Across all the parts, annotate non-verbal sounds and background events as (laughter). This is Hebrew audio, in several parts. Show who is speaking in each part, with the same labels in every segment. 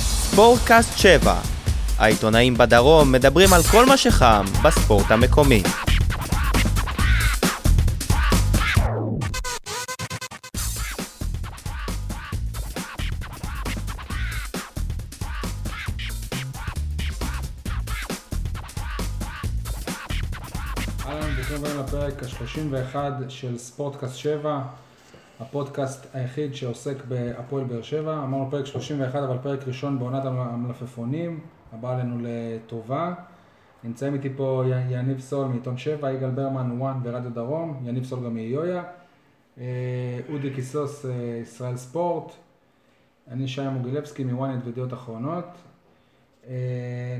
Speaker 1: ספורטקאסט 7. העיתונאים בדרום מדברים על כל מה שחם בספורט המקומי.
Speaker 2: אהלן, ברוכים הבאים לפרק ה-31 של ספורטקאסט 7, הפודקאסט היחיד שעוסק בהפועל באר שבע. אמרנו פרק 31, אבל פרק ראשון בעונת המ- המלפפונים, הבא עלינו לטובה. נמצאים איתי פה י- יניב סול מעיתון 7, יגאל ברמן וואן ברדיו דרום, יניב סול גם מיואיה, אה, אודי קיסוס, אה, ישראל ספורט, אני שי מוגילבסקי מוואנט וידיעות אחרונות. אה,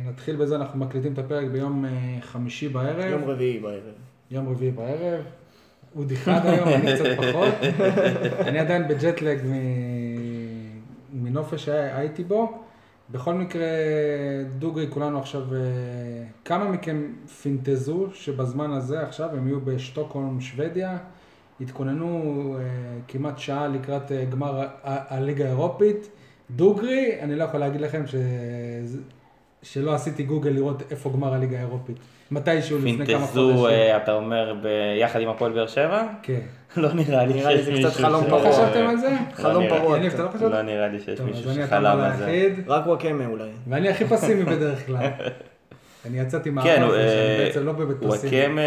Speaker 2: נתחיל בזה, אנחנו מקליטים את הפרק ביום אה, חמישי בערב.
Speaker 3: יום רביעי בערב.
Speaker 2: יום רביעי בערב, אודי חד היום, אני קצת פחות. אני עדיין בג'טלג מ... מנופש שהייתי בו. בכל מקרה, דוגרי, כולנו עכשיו, אה, כמה מכם פינטזו שבזמן הזה עכשיו הם יהיו בשטוקהולם, שוודיה, התכוננו אה, כמעט שעה לקראת אה, גמר ה- ה- הליגה האירופית. דוגרי, אני לא יכול להגיד לכם ש... שלא עשיתי גוגל לראות איפה גמר הליגה האירופית. מתישהו לפני כמה חודשים.
Speaker 4: פינטזו, אה, אתה אומר, ביחד עם הפועל באר שבע? (laughs)
Speaker 2: כן.
Speaker 4: לא נראה לי
Speaker 3: נראה לי
Speaker 4: שיש
Speaker 3: זה
Speaker 4: מישהו
Speaker 3: קצת חלום
Speaker 4: ש-
Speaker 3: פרוע.
Speaker 2: לא חשבתם על זה?
Speaker 3: חלום
Speaker 4: נראה.
Speaker 3: פרוע. כן.
Speaker 2: יניב, אתה לא
Speaker 3: קצת.
Speaker 2: חשבת?
Speaker 4: לא נראה לי שיש
Speaker 2: טוב,
Speaker 4: מישהו
Speaker 2: אז אני התמ"ל
Speaker 4: שחלם על זה.
Speaker 2: היחיד.
Speaker 3: רק וואקמה אולי.
Speaker 2: ואני הכי פסימי בדרך
Speaker 4: (laughs)
Speaker 2: כלל. אני יצאתי מהארץ,
Speaker 4: כן, הוא,
Speaker 2: שאני
Speaker 4: אה,
Speaker 2: בעצם לא באמת פסימי.
Speaker 4: וואקמה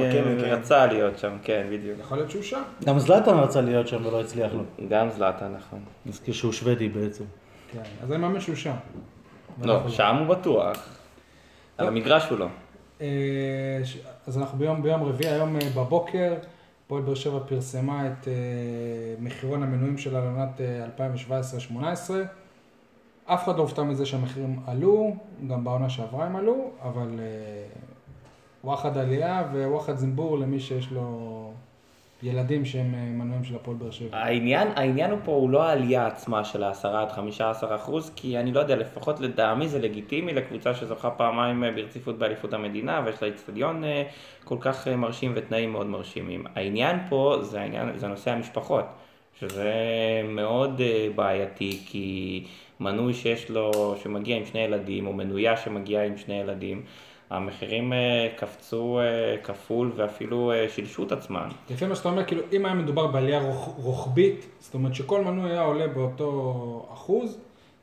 Speaker 3: וואקמה, כן.
Speaker 4: רצה להיות שם, כן, בדיוק.
Speaker 2: יכול להיות שהוא שם.
Speaker 5: גם זלאטן רצה להיות שם ולא הצליח לו.
Speaker 4: גם זלאטה, נכון.
Speaker 5: נזכיר שהוא שוודי בעצם.
Speaker 2: כן, אז אני מאמין שהוא שם.
Speaker 4: לא, שם הוא בטוח. על המגרש הוא לא.
Speaker 2: אה, ש- אז אנחנו ביום, ביום רביעי, היום אה, בבוקר, פועל באר שבע פרסמה את אה, מחירון המנויים שלה לעונת אה, 2017-2018. אף אחד לא הופתע מזה שהמחירים עלו, גם בעונה שעברה הם עלו, אבל אה, וואחד עלייה ווואחד זמבור למי שיש לו ילדים שהם אה, מנויים של הפועל באר שבע.
Speaker 4: העניין, העניין הוא פה הוא לא העלייה עצמה של ה-10 עד 15 אחוז, כי אני לא יודע, לפחות לטעמי זה לגיטימי לקבוצה שזוכה פעמיים אה, ברציפות באליפות המדינה, ויש לה איצטדיון אה, כל כך אה, מרשים ותנאים מאוד מרשימים. העניין פה זה, העניין, זה נושא המשפחות, שזה מאוד אה, בעייתי, כי מנוי שיש לו, שמגיע עם שני ילדים, או מנויה שמגיעה עם שני ילדים, המחירים אה, קפצו אה, כפול ואפילו אה, שילשו את עצמם.
Speaker 2: לפי מה שאתה אומר, כאילו, אם היה מדובר בעלייה רוח, רוחבית, זאת אומרת שכל מנוי היה עולה באותו אחוז,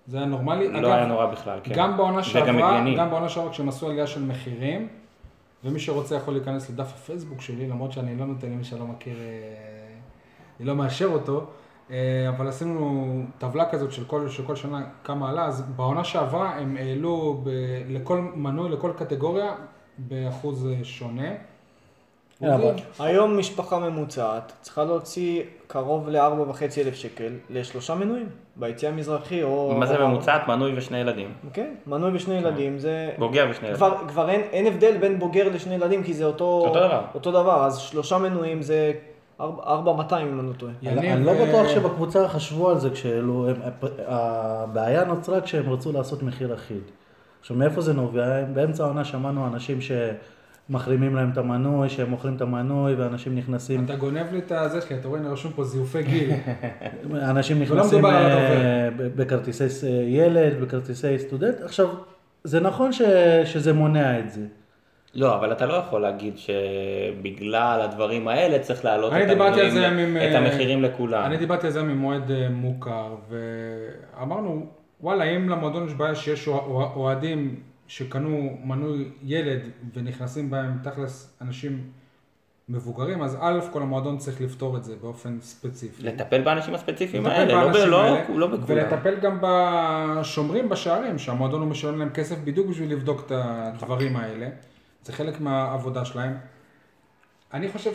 Speaker 2: זה היה נורמלי.
Speaker 4: לא היה נורא בכלל, כן.
Speaker 2: גם בעונה
Speaker 4: זה גם
Speaker 2: שעברה,
Speaker 4: הגיוני.
Speaker 2: גם בעונה שעברה כשהם עשו עלייה של מחירים, ומי שרוצה יכול להיכנס לדף הפייסבוק שלי, למרות שאני לא נותן למי שלא מכיר, אה, אני לא מאשר אותו, אה, אבל עשינו טבלה כזאת של כל, של כל שנה כמה עלה, אז בעונה שעברה הם העלו ב, לכל מנוי, לכל קטגוריה, באחוז אה, שונה.
Speaker 5: כן, אבל-
Speaker 2: אוקיי?
Speaker 3: היום משפחה ממוצעת צריכה להוציא קרוב ל-4,500 שקל לשלושה מנויים. ביציע המזרחי או...
Speaker 4: מה זה
Speaker 3: או-
Speaker 4: ממוצעת? מנוי ושני ילדים.
Speaker 3: כן, מנוי ושני ילדים זה...
Speaker 4: בוגר ושני ילדים.
Speaker 3: כבר, כבר אין, אין הבדל בין בוגר לשני ילדים כי זה אותו,
Speaker 4: אותו דבר.
Speaker 3: אותו דבר, אז שלושה מנויים זה 4,200 אם אני לא טועה.
Speaker 2: יניב,
Speaker 5: אני אני לא
Speaker 2: אה,
Speaker 5: בטוח שבקבוצה חשבו על זה כשהעלו, הם- הפ- הבעיה נוצרה כשהם רצו לעשות מחיר אחיד. עכשיו מאיפה זה נובע? הם- באמצע העונה שמענו אנשים שמחרימים להם את המנוי, שהם אוכלים את המנוי ואנשים נכנסים,
Speaker 2: אתה גונב לי את הזה שלי, אתה רואה, הנה רשום פה זיופי גיל.
Speaker 5: אנשים
Speaker 2: ולא
Speaker 5: נכנסים
Speaker 2: מדובר על
Speaker 5: אה,
Speaker 2: הדובר.
Speaker 5: ב- בכרטיסי ס- ילד, בכרטיסי סטודנט. עכשיו, זה נכון ש- שזה מונע את זה.
Speaker 4: לא, אבל אתה לא יכול להגיד שבגלל הדברים האלה צריך להעלות
Speaker 2: אני
Speaker 4: את
Speaker 2: דיברתי על זה
Speaker 4: המחירים-
Speaker 2: עם... אה,
Speaker 4: את המחירים לכולם.
Speaker 2: אני דיברתי על זה ממועד אה, מוכר, ואמרנו, וואלה, אם למועדון יש בעיה שיש אוה- אוה- אוהדים שקנו מנוי ילד ונכנסים בהם תכלס אנשים מבוגרים, אז א' כל המועדון צריך לפתור את זה באופן ספציפי.
Speaker 4: לטפל באנשים הספציפיים
Speaker 2: לטפל
Speaker 4: האלה, לא ב-
Speaker 2: באנשים
Speaker 4: לא-
Speaker 2: האלה,
Speaker 4: לא בכולם.
Speaker 2: ולטפל גם בשומרים בשערים, שהמועדון הוא משלם להם כסף בדיוק בשביל לבדוק את הדברים האלה. זה חלק מהעבודה שלהם. אני חושב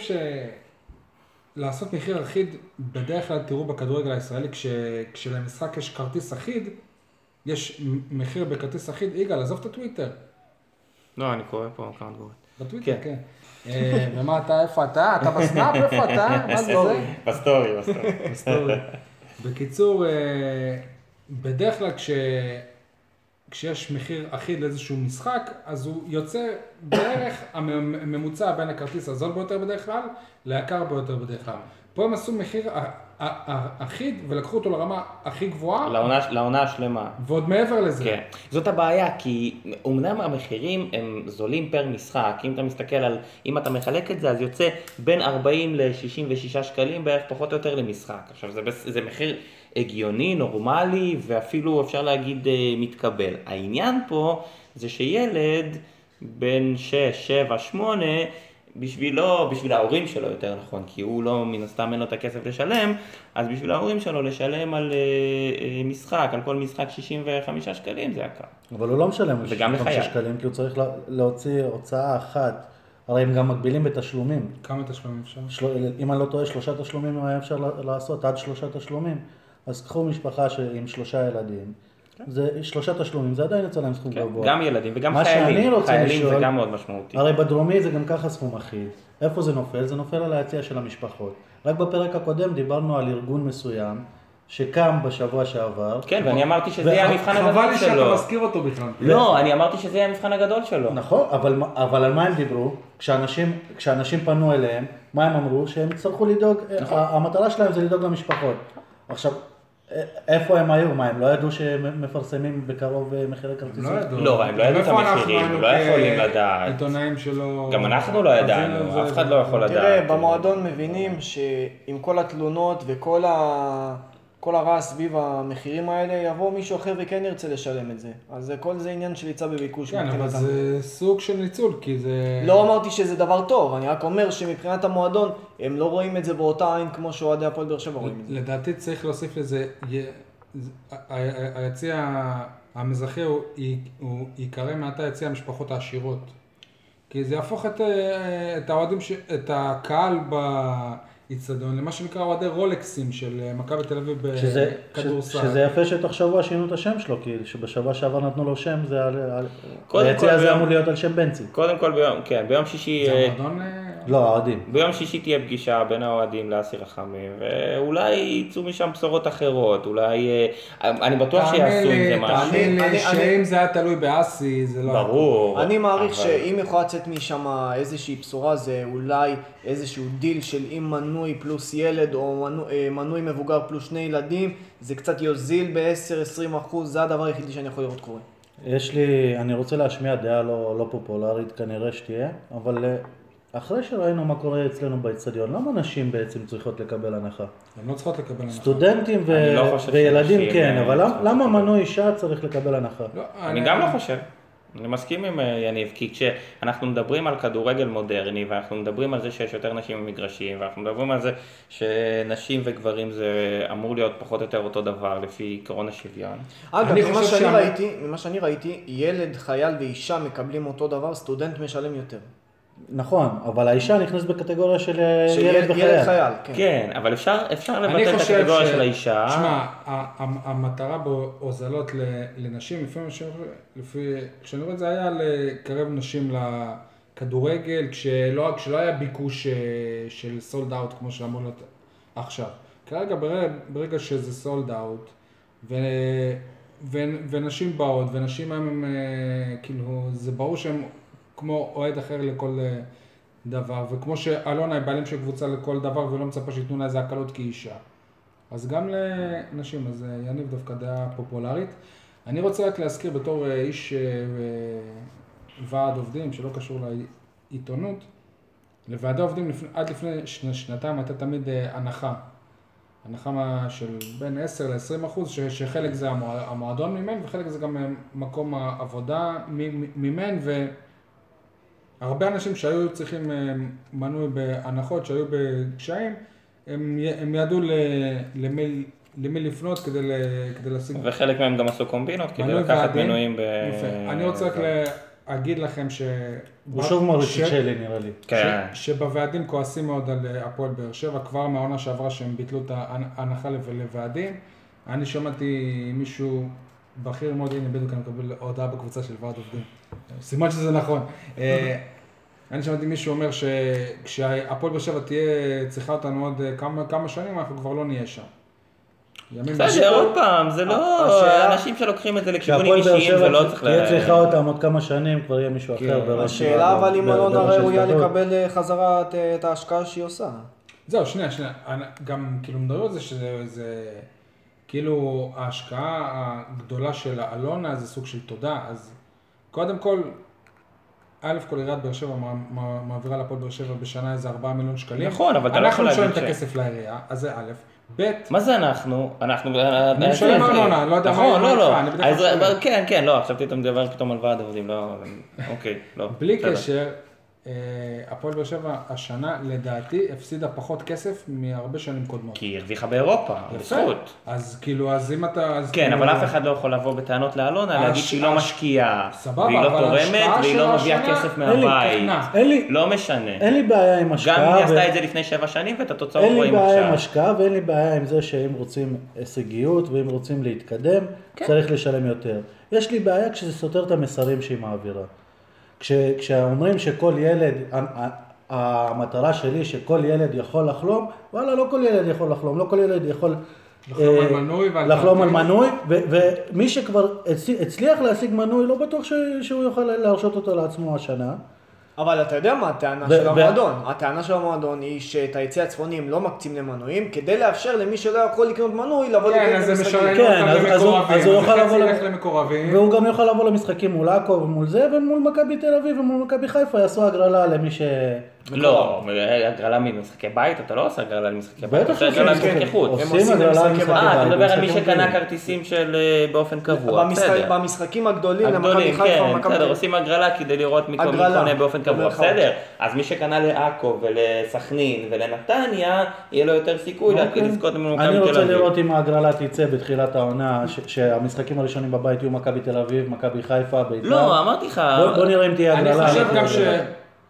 Speaker 2: שלעשות מחיר אחיד, בדרך כלל תראו בכדורגל הישראלי, כש... כשלמשחק יש כרטיס אחיד, יש מ- מחיר בכרטיס אחיד. יגאל, עזוב את הטוויטר.
Speaker 4: לא, אני קורא פה כמה תגובות.
Speaker 2: בטוויטר,
Speaker 4: כן.
Speaker 2: כן. אה, ומה אתה, איפה אתה? אתה בסנאפ, איפה אתה? מה זה זה?
Speaker 4: בסטורי, בסטורי.
Speaker 2: (laughs) היסטוריה. בקיצור, אה, בדרך כלל כש... כשיש מחיר אחיד לאיזשהו משחק, אז הוא יוצא בערך (coughs) הממוצע בין הכרטיס הזול ביותר בדרך כלל ליקר ביותר בדרך כלל. פה הם עשו מחיר א- א- א- אחיד ולקחו אותו לרמה הכי גבוהה,
Speaker 4: לעונה- לעונה השלמה.
Speaker 2: ועוד מעבר לזה.
Speaker 4: לא. כן. זאת הבעיה, כי אמנם המחירים הם זולים פר משחק, אם אתה מסתכל על, אם אתה מחלק את זה, אז יוצא בין 40 ל-66 שקלים בערך, פחות או יותר למשחק. עכשיו, זה, בס- זה מחיר הגיוני, נורמלי, ואפילו אפשר להגיד אה, מתקבל. העניין פה זה שילד בן 6, 7, 8, בשבילו, בשביל ההורים שלו יותר נכון, כי הוא לא, מן הסתם אין לו את הכסף לשלם, אז בשביל ההורים שלו לשלם על אה, אה, משחק, על כל משחק 65 שקלים זה יקר.
Speaker 5: אבל הוא לא משלם
Speaker 4: וגם
Speaker 5: 65
Speaker 4: לחייל.
Speaker 5: שקלים, כי הוא צריך לה- להוציא הוצאה אחת. הרי הם גם מגבילים בתשלומים.
Speaker 2: כמה תשלומים אפשר?
Speaker 5: של... אם אני לא טועה, שלושה תשלומים היה אפשר ל- לעשות, עד שלושה תשלומים. אז קחו משפחה ש... עם שלושה ילדים, זה שלושה תשלומים, זה עדיין יוצא להם סכום
Speaker 4: כן,
Speaker 5: גבוה.
Speaker 4: גם ילדים וגם
Speaker 5: מה שאני
Speaker 4: חיילים,
Speaker 5: רוצה
Speaker 4: חיילים זה
Speaker 5: לשאול-
Speaker 4: גם מאוד משמעותי.
Speaker 5: הרי בדרומי זה גם ככה סכום אחיד. איפה זה נופל? זה נופל על היציע של המשפחות. רק בפרק הקודם דיברנו על ארגון מסוים, שקם בשבוע שעבר.
Speaker 4: כן, ואני אמרתי שזה יהיה
Speaker 5: וח-
Speaker 4: המבחן
Speaker 2: חבל לי
Speaker 4: הגדול
Speaker 2: שאתה
Speaker 4: שלו.
Speaker 2: מזכיר אותו בכלל.
Speaker 4: לא, אני אמרתי שזה יהיה המבחן הגדול שלו.
Speaker 5: נכון, אבל, מה- אבל על מה הם דיברו? כשאנשים, כשאנשים פנו אליהם, מה הם אמרו? שהם יצטרכו לדאוג, נכון. המטרה שלהם זה לדאוג למשפחות. עכשיו, א- איפה הם היו? מה, הם לא ידעו שמפרסמים בקרוב אה, מחירי כרטיסים?
Speaker 2: לא ידעו.
Speaker 4: לא, הם לא ידעו את
Speaker 2: איפה אנחנו
Speaker 4: המחירים,
Speaker 2: היינו
Speaker 4: לא יכולים
Speaker 2: כ-
Speaker 4: לדעת.
Speaker 2: עיתונאים שלא...
Speaker 4: גם אנחנו לא
Speaker 2: חזינו את
Speaker 4: ידענו,
Speaker 2: זה.
Speaker 4: אף אחד לא יכול לדעת.
Speaker 3: תראה, במועדון מבינים שעם כל התלונות וכל ה... כל הרעש סביב המחירים האלה, יבוא מישהו אחר וכן ירצה לשלם את זה. אז זה- כל זה עניין של היצע וביקוש.
Speaker 2: כן, אבל
Speaker 3: מבחינתם.
Speaker 2: זה סוג של ניצול, כי זה...
Speaker 3: לא אמרתי שזה דבר טוב, אני רק אומר שמבחינת המועדון, הם לא רואים את זה באותה עין כמו שאוהדי הפועל באר שבע רואים את זה.
Speaker 2: לדעתי צריך להוסיף לזה, י- ז- ה- ה- היציע המזרחי הוא י- הוא ייקרא מעתה יציע המשפחות העשירות. כי זה יהפוך את, אה, את האוהדים, ש- את הקהל באיצטדיון למה שנקרא אוהדי רולקסים של אה, מכבי תל אביב
Speaker 5: שזה,
Speaker 2: בכדורסל.
Speaker 5: ש- שזה יפה שתוך שבוע שינו את השם שלו, כי שבשבוע שעבר נתנו לו שם, זה על... על...
Speaker 4: קודם
Speaker 5: היציע
Speaker 4: כל
Speaker 5: הזה
Speaker 4: ביום-
Speaker 5: אמור להיות על שם בנצי.
Speaker 4: קודם כל ביום, כן, ביום שישי...
Speaker 2: זה
Speaker 4: אה,
Speaker 2: המועדון... אה,
Speaker 5: לא, האוהדים.
Speaker 4: ביום שישי תהיה פגישה בין האוהדים לאסי רחמים, ואולי יצאו משם בשורות אחרות, אולי... אה, אני בטוח שיעשו עם זה משהו.
Speaker 2: תאמין לי,
Speaker 3: אני-
Speaker 2: שאם
Speaker 3: אני-
Speaker 2: זה היה תלוי באסי, זה לא...
Speaker 4: ברור.
Speaker 3: אני מעריך
Speaker 4: אבל-
Speaker 3: שאם יכולה לצאת משם איזושהי בשורה, זה אולי איזשהו דיל של אם מנוי פלוס ילד, או מנו- אה, מנוי מבוגר פלוס שני ילדים, זה קצת יוזיל ב-10-20 אחוז, זה הדבר היחידי שאני יכול לראות קורה.
Speaker 5: יש לי, אני רוצה להשמיע דעה לא, לא פופולרית, כנראה שתהיה, אבל אה, אחרי שראינו מה קורה אצלנו באצטדיון, למה נשים בעצם צריכות לקבל הנחה?
Speaker 2: הן לא צריכות לקבל הנחה.
Speaker 5: סטודנטים ו...
Speaker 4: אני לא חושב
Speaker 5: וילדים
Speaker 4: שנשים,
Speaker 5: כן,
Speaker 4: אה,
Speaker 5: אבל למ-
Speaker 4: צריכות
Speaker 5: למה
Speaker 4: לקבל.
Speaker 5: מנוי אישה צריך לקבל הנחה?
Speaker 2: לא,
Speaker 4: אני גם לא חושב. אני מסכים עם אה, יניב, כי כשאנחנו מדברים על כדורגל מודרני, ואנחנו מדברים על זה שיש יותר נשים במגרשים, ואנחנו מדברים על זה שנשים וגברים זה אמור להיות פחות או יותר אותו דבר, לפי עקרון השוויון.
Speaker 3: אגב,
Speaker 2: אני
Speaker 3: ממה
Speaker 2: חושב
Speaker 3: שאני
Speaker 2: שה-
Speaker 3: ראיתי, ממה שאני ראיתי, ילד, חייל ואישה מקבלים אותו דבר, סטודנט משלם יותר.
Speaker 5: נכון, אבל האישה נכנסת בקטגוריה של אה,
Speaker 3: של
Speaker 5: ילד
Speaker 3: ילד
Speaker 5: וחייל.
Speaker 3: חייל, כן.
Speaker 4: כן, אבל אפשר אפשר
Speaker 2: אני
Speaker 4: לבטל את
Speaker 2: חושב
Speaker 4: הקטגוריה
Speaker 2: ש-
Speaker 4: של האישה.
Speaker 2: שמע, ה- ה- המטרה בהוזלות ל- לנשים, לפי מה ש... לפי... כשאני רואה את זה היה לקרב נשים לכדורגל, כשלא, כשלא היה ביקוש אה, של סולד אאוט כמו שאמור להיות עכשיו. כרגע ברגע, ברגע שזה סולד אאוט, ו... ו... ונשים באות, ונשים היום הם אה, כאילו, זה ברור שהם כמו אוהד אחר לכל אה, דבר, וכמו שאלונה היא בעלים של קבוצה לכל דבר ולא מצפה שייתנו לה איזה הקלות כאישה. אז גם לנשים, אז אה, יניב דווקא דעה פופולרית. אני רוצה רק להזכיר בתור אה, איש אה, אה, ועד עובדים, שלא קשור לעיתונות, לוועדי עובדים לפני, עד לפני שנ, שנתיים הייתה תמיד אה, הנחה. הנחה מה- של בין 10 ל-20 אחוז, ש, שחלק זה המוע, המועדון מימן וחלק זה גם אה, מקום העבודה מ- מ- מימן, והרבה אנשים שהיו צריכים אה, מנוי בהנחות, שהיו בקשיים, הם, י- הם ידעו ל, למי, למי לפנות כדי, ל, כדי להשיג
Speaker 4: וחלק מהם גם עשו קומבינות כדי
Speaker 2: מנוי
Speaker 4: לקחת
Speaker 2: ועדין.
Speaker 4: מנויים ב...
Speaker 2: לא
Speaker 4: אה,
Speaker 2: יפה. אני רוצה רק להגיד לכם ש...
Speaker 5: הוא שוב מוריד
Speaker 2: ש-
Speaker 5: את שלי נראה לי.
Speaker 4: כן.
Speaker 2: ש- שבוועדים כועסים מאוד על אה, הפועל באר שבע, כבר מהעונה שעברה שהם ביטלו את ההנחה לב- לוועדים. אני שמעתי מישהו בכיר מאוד, הנה בדיוק אני מקבל הודעה בקבוצה של ועד עובדים. סימן שזה נכון. אה, אני שמעתי מישהו אומר שכשהפועל באר שבע תהיה צריכה אותנו עוד אה, כמה, כמה שנים, אנחנו כבר לא נהיה שם. ימין
Speaker 4: בסדר, עוד פעם, זה
Speaker 3: השאלה-
Speaker 4: לא... אנשים שלוקחים את זה לכיוונים
Speaker 5: כשהפועל באר
Speaker 4: אישיים, זה לא
Speaker 5: שבע
Speaker 4: צריך...
Speaker 5: תהיה
Speaker 4: ל-
Speaker 5: צריכה אותם עוד כמה שנים, כבר יהיה מישהו
Speaker 2: כן,
Speaker 5: אחר בראש
Speaker 3: השאלה אבל אם לא
Speaker 5: ב-
Speaker 3: אלונה
Speaker 5: בראש
Speaker 3: ראויה
Speaker 5: ההסתדרות.
Speaker 3: לקבל אה, חזרה את- את ההשקעה שהיא עושה.
Speaker 2: זהו, שנייה, שנייה. אני- גם כאילו מדברים על זה שזה זה, כאילו ההשקעה הגדולה של אלונה זה סוג של תודה, אז קודם כל, א' כל עיריית באר שבע מע- מע- מעבירה להפועל באר שבע בשנה איזה 4 מיליון שקלים.
Speaker 4: נכון, אבל אתה לא יכול
Speaker 2: אנחנו
Speaker 4: להגיד
Speaker 2: משלמים את
Speaker 4: ש-
Speaker 2: הכסף לעירייה, אז זה א', ב',
Speaker 4: מה זה אנחנו? אנחנו... אה,
Speaker 2: אני משלם ארנונה, אני לא יודע מה-
Speaker 4: נכון,
Speaker 2: מה
Speaker 4: לא, לא.
Speaker 2: איתך, אני בדרך כלל
Speaker 4: האזרח-
Speaker 2: משלם.
Speaker 4: כן, כן, לא, עכשיו פתאום מדבר פתאום על ועד עובדים, לא... אוקיי, לא.
Speaker 2: בלי
Speaker 4: בסדר.
Speaker 2: קשר, אה, הפועל באר שבע השנה לדעתי הפסידה פחות כסף מהרבה שנים קודמות.
Speaker 4: כי היא הרוויחה באירופה, בזכות.
Speaker 2: אז כאילו, אז אם אתה... אז
Speaker 4: כן,
Speaker 2: כאילו-
Speaker 4: אבל אף אחד לא יכול לבוא בטענות לאלונה, להגיד
Speaker 2: הש-
Speaker 4: שהיא לא
Speaker 2: הש-
Speaker 4: משקיעה,
Speaker 2: סבבה,
Speaker 4: והיא לא
Speaker 2: אבל
Speaker 4: תורמת,
Speaker 2: ההשקעה
Speaker 4: והיא
Speaker 2: שלה
Speaker 4: לא מביאה
Speaker 2: השנה-
Speaker 4: כסף
Speaker 5: אין לי
Speaker 4: מהבית.
Speaker 2: תוכנה.
Speaker 5: אין לי-
Speaker 4: לא משנה.
Speaker 5: אין לי בעיה עם
Speaker 4: גם
Speaker 5: השקעה.
Speaker 4: אם היא
Speaker 5: ו-
Speaker 4: עשתה את זה לפני שבע שנים, ואת התוצאות
Speaker 5: אין לי
Speaker 4: רואים
Speaker 5: בעיה עם
Speaker 4: עכשיו.
Speaker 5: השקעה ואין לי בעיה עם זה שאם רוצים הישגיות ואם רוצים להתקדם, צריך לשלם יותר. יש לי בעיה כשזה סותר את המסרים שהיא מעבירה. כש, כשאומרים שכל ילד, ה- ה- המטרה שלי שכל ילד יכול לחלום, וואלה, לא כל ילד יכול לחלום, לא כל ילד יכול...
Speaker 2: לחלום
Speaker 5: אה,
Speaker 2: על מנוי ועל
Speaker 5: לחלום על
Speaker 2: כרטיס.
Speaker 5: מנוי, ו- ומי שכבר הצ- הצליח להשיג מנוי, לא בטוח ש- שהוא יוכל להרשות אותו לעצמו השנה.
Speaker 3: אבל אתה יודע מה הטענה
Speaker 5: ו-
Speaker 3: של
Speaker 5: ו-
Speaker 3: המועדון? הטענה של המועדון היא שאת היציא הצפוניים לא מקצים למנויים, כדי לאפשר למי שלא יכול לקנות מנוי לבוא
Speaker 2: כן, אז
Speaker 3: לקנות
Speaker 2: זה
Speaker 3: משחקים.
Speaker 2: משלם
Speaker 5: כן,
Speaker 2: אותם
Speaker 5: אז- אז הוא-
Speaker 2: למקורבים.
Speaker 5: אז הוא יוכל
Speaker 2: חצי
Speaker 5: לבוא
Speaker 2: ילך
Speaker 5: ל-
Speaker 2: למקורבים.
Speaker 5: והוא גם יוכל לבוא למשחקים מול עכו ומול זה, ומול מכבי תל אביב ומול מכבי חיפה יעשו הגרלה למי ש...
Speaker 4: לא, הגרלה ממשחקי בית, אתה לא עושה הגרלה למשחקי בית, אתה
Speaker 5: בטח
Speaker 4: עושה
Speaker 5: שכן,
Speaker 4: הגרלה
Speaker 5: כן.
Speaker 4: למשחקי חוץ.
Speaker 3: הם עושים
Speaker 5: עושים הגרלה
Speaker 3: משחקי
Speaker 5: למשחקי
Speaker 3: בית.
Speaker 4: אה, אתה
Speaker 5: בית,
Speaker 4: מדבר על מי
Speaker 5: משחקים
Speaker 4: שקנה
Speaker 5: גדולים.
Speaker 4: כרטיסים של אה, באופן קבוע,
Speaker 3: במשחק-
Speaker 4: בסדר.
Speaker 3: במשחקים הגדולים, למכבי
Speaker 4: הגדולים,
Speaker 3: חיפה, אה,
Speaker 4: כן,
Speaker 3: למכבי
Speaker 4: בסדר,
Speaker 3: תל-
Speaker 4: עושים הגרלה כדי לראות מי מי
Speaker 3: הגרלה.
Speaker 4: קונה באופן קבוע,
Speaker 3: במרכאות.
Speaker 4: בסדר. אז מי שקנה לעכו ולסכנין ולנתניה, יהיה לו יותר סיכוי להתחיל לזכות ממוקם
Speaker 5: אני
Speaker 4: תל
Speaker 5: רוצה
Speaker 4: אביב.
Speaker 5: לראות אם ההגרלה תצא בתחילת העונה, ש- שהמשחקים הראשונים בבית יהיו מכבי תל אביב, מכבי חיפה, בית"ר.
Speaker 4: לא, אמרתי לך,
Speaker 5: בוא בוא נראה אם תהיה
Speaker 2: אני
Speaker 5: הגרלה.
Speaker 2: חושב
Speaker 5: אנחנו
Speaker 2: גם
Speaker 5: נראה.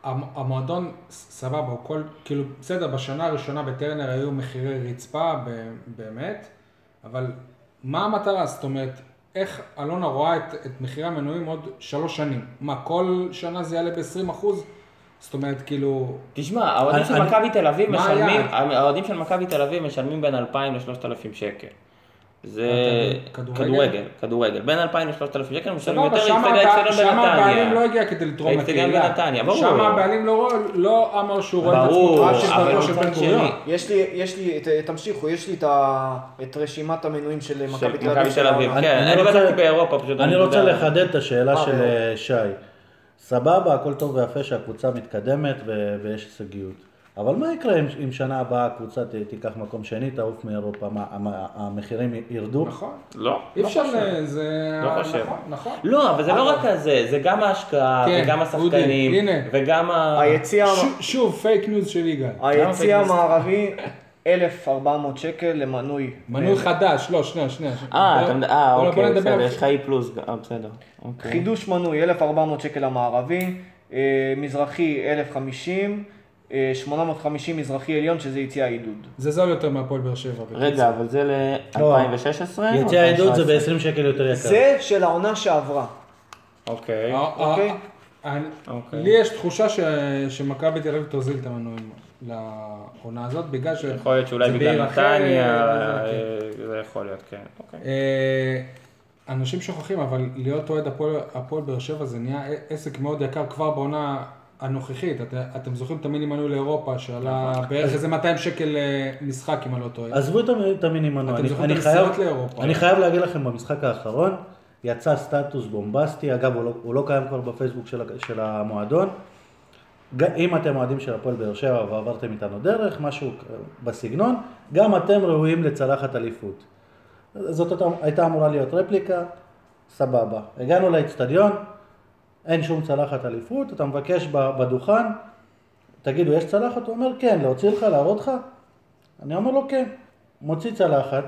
Speaker 2: שהמועדון, סבבה, הוא כל, כאילו, בסדר, בשנה הראשונה בטרנר היו מחירי רצפה, ב- באמת, אבל מה המטרה? זאת אומרת, איך אלונה רואה את, את מחירי המנויים עוד שלוש שנים? מה, כל שנה זה יעלה ב-20 אחוז? זאת אומרת, כאילו,
Speaker 4: תשמע, האוהדים
Speaker 5: אני-
Speaker 4: של
Speaker 5: אני-
Speaker 4: מכבי תל אביב
Speaker 2: מה
Speaker 4: משלמים,
Speaker 2: היעד?
Speaker 4: האוהדים של מכבי תל אביב משלמים בין 2,000 ל-3,000 שקל. זה
Speaker 2: כדורגל?
Speaker 4: כדורגל, כדורגל. בין 2,000 ל-3,000 שקל משלמים
Speaker 2: סבבה,
Speaker 4: יותר
Speaker 2: שם
Speaker 4: לפני
Speaker 2: הבע-
Speaker 4: האצטדיון
Speaker 2: שם הבעלים לא
Speaker 4: בנתניה.
Speaker 2: הגיע כדי לתרום
Speaker 4: האצטדיון
Speaker 2: לקהילה.
Speaker 4: בנתניה, ברור.
Speaker 2: שם הבעלים לא, רוא- לא אמר שהוא רואה את עצמו
Speaker 4: ברור,
Speaker 2: רק של
Speaker 4: אבל
Speaker 2: דרכו של בן
Speaker 4: מצד
Speaker 2: גוריון.
Speaker 4: שני,
Speaker 3: יש לי, יש לי, ת- תמשיכו, יש לי את ה- את רשימת המנויים של
Speaker 4: של
Speaker 3: מכבי תל אביב.
Speaker 4: מכבי תל אביב,
Speaker 5: אני-
Speaker 4: כן,
Speaker 5: אני
Speaker 4: אני
Speaker 5: רוצה-
Speaker 4: בדקתי באירופה פשוט.
Speaker 5: אני רוצה
Speaker 4: יודע.
Speaker 5: לחדד את השאלה
Speaker 3: אה,
Speaker 5: של
Speaker 3: לא.
Speaker 5: אה, שי. סבבה, הכל טוב ויפה שהקבוצה מתקדמת ו- ויש הישגיות. אבל מה יקרה אם, אם שנה הבאה הקבוצה ת- תיקח מקום שני, תעוף מאירופה, מה, מה, המחירים י- ירדו?
Speaker 2: נכון.
Speaker 4: לא.
Speaker 2: אי אפשר, ל- זה...
Speaker 4: לא חושב.
Speaker 2: נכון, נכון.
Speaker 4: לא, אבל זה לא רק הזה, זה גם ההשקעה,
Speaker 2: כן,
Speaker 4: וגם השחקנים,
Speaker 2: אודי, הנה.
Speaker 4: וגם ה...
Speaker 3: היציע המ-
Speaker 2: ש- שוב, פייק ניוז של יגאל.
Speaker 4: אה,
Speaker 3: היציע המערבי, 1,400 שקל למנוי.
Speaker 2: מנוי חדש, לא, שנייה, שנייה.
Speaker 4: אה, אתה מד- אה,
Speaker 2: בוא- בוא
Speaker 4: אוקיי,
Speaker 2: נדבר-
Speaker 4: בסדר, יש לך אי פלוס, גם, אה, בסדר. אוקיי.
Speaker 3: חידוש מנוי, 1,400 שקל המערבי, אה, מזרחי, 1,050, אה, 850 מזרחי עליון, שזה יציע העידוד.
Speaker 2: זה זול יותר מהפועל באר שבע.
Speaker 4: רגע, אבל זה
Speaker 2: לא.
Speaker 4: ל-2016?
Speaker 5: יציע העידוד זה ב-20 שקל יותר יקר.
Speaker 3: זה של העונה שעברה.
Speaker 4: אוקיי.
Speaker 2: אה, אה,
Speaker 3: אוקיי.
Speaker 2: אה, אני-
Speaker 4: אוקיי.
Speaker 2: לי יש תחושה ש- שמכבי תל אביב תוזיל את המנויים לעונה הזאת, בגלל ש...
Speaker 4: יכול להיות שאולי
Speaker 2: זה
Speaker 4: בגלל
Speaker 2: בעיר אחרת,
Speaker 4: נתניה,
Speaker 2: וזה, כן.
Speaker 4: אה, זה יכול להיות, כן. אוקיי.
Speaker 2: אה, אנשים שוכחים, אבל להיות אוהד הפועל- הפועל באר שבע זה נהיה עסק מאוד יקר כבר בעונה הנוכחית. את- אתם זוכרים את המיני מנוי לאירופה, שעלה בערך איזה 200 שקל אה, משחק, אם אני לא טועה.
Speaker 5: עזבו את המ- את המינימנו,
Speaker 2: אתם
Speaker 5: אני,
Speaker 2: זוכרים
Speaker 5: אני,
Speaker 2: את
Speaker 5: חייב,
Speaker 2: הנסיעות לאירופה.
Speaker 5: אני חייב להגיד לכם במשחק האחרון, יצא סטטוס בומבסטי, אגב הוא לא, הוא לא קיים כבר בפייסבוק של, ה- של המועדון. ג- אם אתם אוהדים של הפועל באר שבע ועברתם איתנו דרך, משהו כ- בסגנון, גם אתם ראויים לצלחת אליפות. זאת אותה- הייתה אמורה להיות רפליקה, סבבה. הגענו לאצטדיון, אין שום צלחת אליפות, אתה מבקש ב- בדוכן, תגידו, יש צלחת? הוא אומר, כן, להוציא לך, להראות לך? אני אומר לו, כן. מוציא צלחת,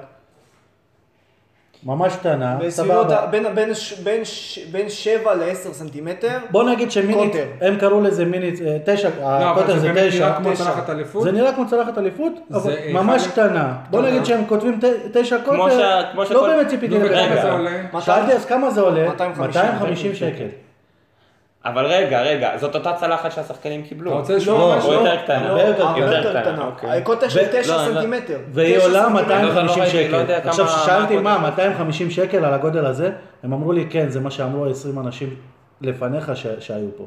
Speaker 5: ממש קטנה,
Speaker 3: בסביבות ה-
Speaker 5: סבבה.
Speaker 3: בין- בין ש- בין ש- בין 7 ל-10 סנטימטר.
Speaker 5: בוא נגיד שמיני,
Speaker 3: קוטר.
Speaker 5: הם קראו לזה מיני, אה, תשע,
Speaker 2: לא,
Speaker 5: הקוטר
Speaker 2: אבל זה
Speaker 5: זה
Speaker 2: באמת
Speaker 5: תשע.
Speaker 2: נראה כמו
Speaker 3: תשע.
Speaker 2: הצלחת אליפות.
Speaker 5: זה נראה כמו צלחת אליפות,
Speaker 2: זה
Speaker 5: אבל
Speaker 2: אחד
Speaker 5: ממש
Speaker 2: ל-
Speaker 5: קטנה. בוא נגיד שהם כותבים ת- תשע
Speaker 4: כמו
Speaker 5: קוטר,
Speaker 4: שה- כמו שכל-
Speaker 5: לא באמת
Speaker 2: נו,
Speaker 5: ציפיתי
Speaker 2: וכמה
Speaker 5: לכך.
Speaker 2: זה עולה?
Speaker 5: שאלתי אז כמה זה עולה?
Speaker 3: 250.
Speaker 5: 250 שקל.
Speaker 4: אבל רגע, רגע, זאת אותה צלחת שהשחקנים קיבלו.
Speaker 2: אתה רוצה לשמוע
Speaker 4: לא,
Speaker 2: משהו?
Speaker 4: או יותר קטנה.
Speaker 5: הרבה יותר
Speaker 4: הרבה
Speaker 5: קטנה.
Speaker 4: יותר קטנה, אוקיי.
Speaker 3: קוטה
Speaker 5: ו-
Speaker 3: של
Speaker 4: לא,
Speaker 3: 9
Speaker 4: אני לא-
Speaker 3: סנטימטר.
Speaker 5: והיא
Speaker 3: תשע
Speaker 5: עולה
Speaker 3: סנטימטר.
Speaker 4: אני לא יודע, לא
Speaker 5: 250
Speaker 4: ראיתי, לא
Speaker 5: שקל.
Speaker 4: יודע כמה-
Speaker 5: עכשיו ששאלתי
Speaker 4: מה
Speaker 5: מה,
Speaker 4: הגודל.
Speaker 5: 250 שקל על הגודל הזה, הם אמרו לי כן, זה מה שאמרו 20 אנשים לפניך ש- שהיו פה.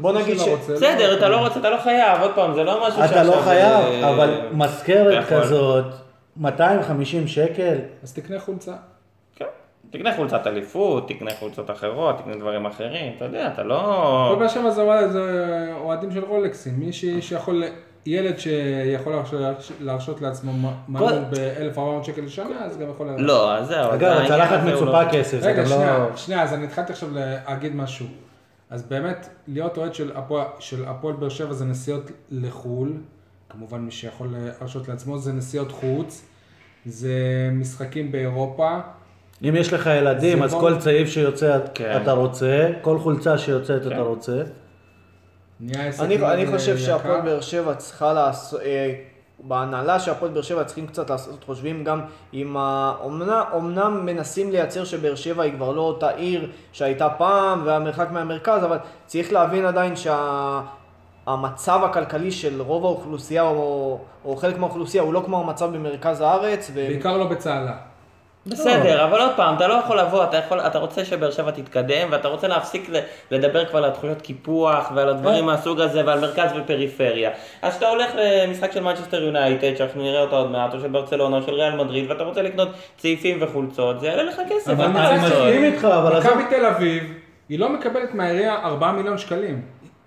Speaker 3: בוא נגיד
Speaker 2: שלא
Speaker 3: ש...
Speaker 2: רוצה, לא
Speaker 4: בסדר, אתה
Speaker 2: רוצה.
Speaker 4: לא רוצה, אתה לא חייב, עוד פעם, זה לא משהו
Speaker 5: אתה לא חייב,
Speaker 4: אה,
Speaker 5: אבל מזכרת
Speaker 4: אתה יכול.
Speaker 5: כזאת, 250 שקל,
Speaker 2: אז תקנה חולצה.
Speaker 4: כן. תקנה חולצת אליפות, תקנה חולצות אחרות, תקנה דברים אחרים, אתה יודע, אתה לא...
Speaker 2: כל באר שבע זה אוהד- זה אוהדים של רולקסים, מי ש- שיכול, ילד שיכול להרש- להרשות לעצמו מ- מנות ב-1400 שקל לשנה, אז גם יכול... להרשות.
Speaker 4: לא, אז זהו. אז
Speaker 5: אגב,
Speaker 4: העניין
Speaker 5: הצלחת
Speaker 4: הזה הוא לא-
Speaker 5: מצופה כסף, זה גם
Speaker 2: רגע, שנייה,
Speaker 5: לא...
Speaker 2: שנייה, אז אני התחלתי עכשיו להגיד משהו. אז באמת, להיות אוהד של הפועל- של הפועל באר שבע זה נסיעות לחו"ל, כמובן מי שיכול להרשות לעצמו, זה נסיעות חוץ, זה משחקים באירופה,
Speaker 5: אם יש לך ילדים,
Speaker 2: זה
Speaker 5: אז
Speaker 2: בוא-
Speaker 5: כל צעיף שיוצא
Speaker 4: כן.
Speaker 5: אתה רוצה, כל חולצה שיוצאת אתה
Speaker 4: כן.
Speaker 5: רוצה.
Speaker 2: נהיה עסק
Speaker 3: אני,
Speaker 4: כאילו
Speaker 2: מאוד,
Speaker 3: אני
Speaker 2: אה,
Speaker 3: חושב
Speaker 2: יקר.
Speaker 3: שהפועל באר שבע צריכה לעשות, אה, בהנהלה שהפועל באר שבע צריכים קצת לעשות חושבים גם עם ה... אומנם, אומנם מנסים לייצר שבאר שבע היא כבר לא אותה עיר שהייתה פעם והמרחק מהמרכז, אבל צריך להבין עדיין שה... המצב הכלכלי של רוב האוכלוסייה או, או חלק מהאוכלוסייה הוא לא כמו המצב במרכז הארץ. ו...
Speaker 2: בעיקר לא בצהלה.
Speaker 4: בסדר, אבל עוד פעם, אתה לא יכול לבוא, אתה, יכול, אתה רוצה שבאר שבע תתקדם, ואתה רוצה להפסיק ל- לדבר כבר על תחושות קיפוח, ועל הדברים מהסוג הזה, ועל מרכז ופריפריה. אז כשאתה הולך למשחק של מנצ'סטר יונייטד, שאנחנו נראה אותה עוד מעט, או של ברצלונה, או של ריאל מדריד, ואתה רוצה לקנות צעיפים וחולצות, זה יעלה לך כסף.
Speaker 2: אבל
Speaker 4: אין מה
Speaker 5: אני
Speaker 2: מצד
Speaker 4: לעשות.
Speaker 5: מסכים איתך, אבל עזוב...
Speaker 2: מכבי תל אביב, היא לא מקבלת מהעירייה 4 מיליון שקלים.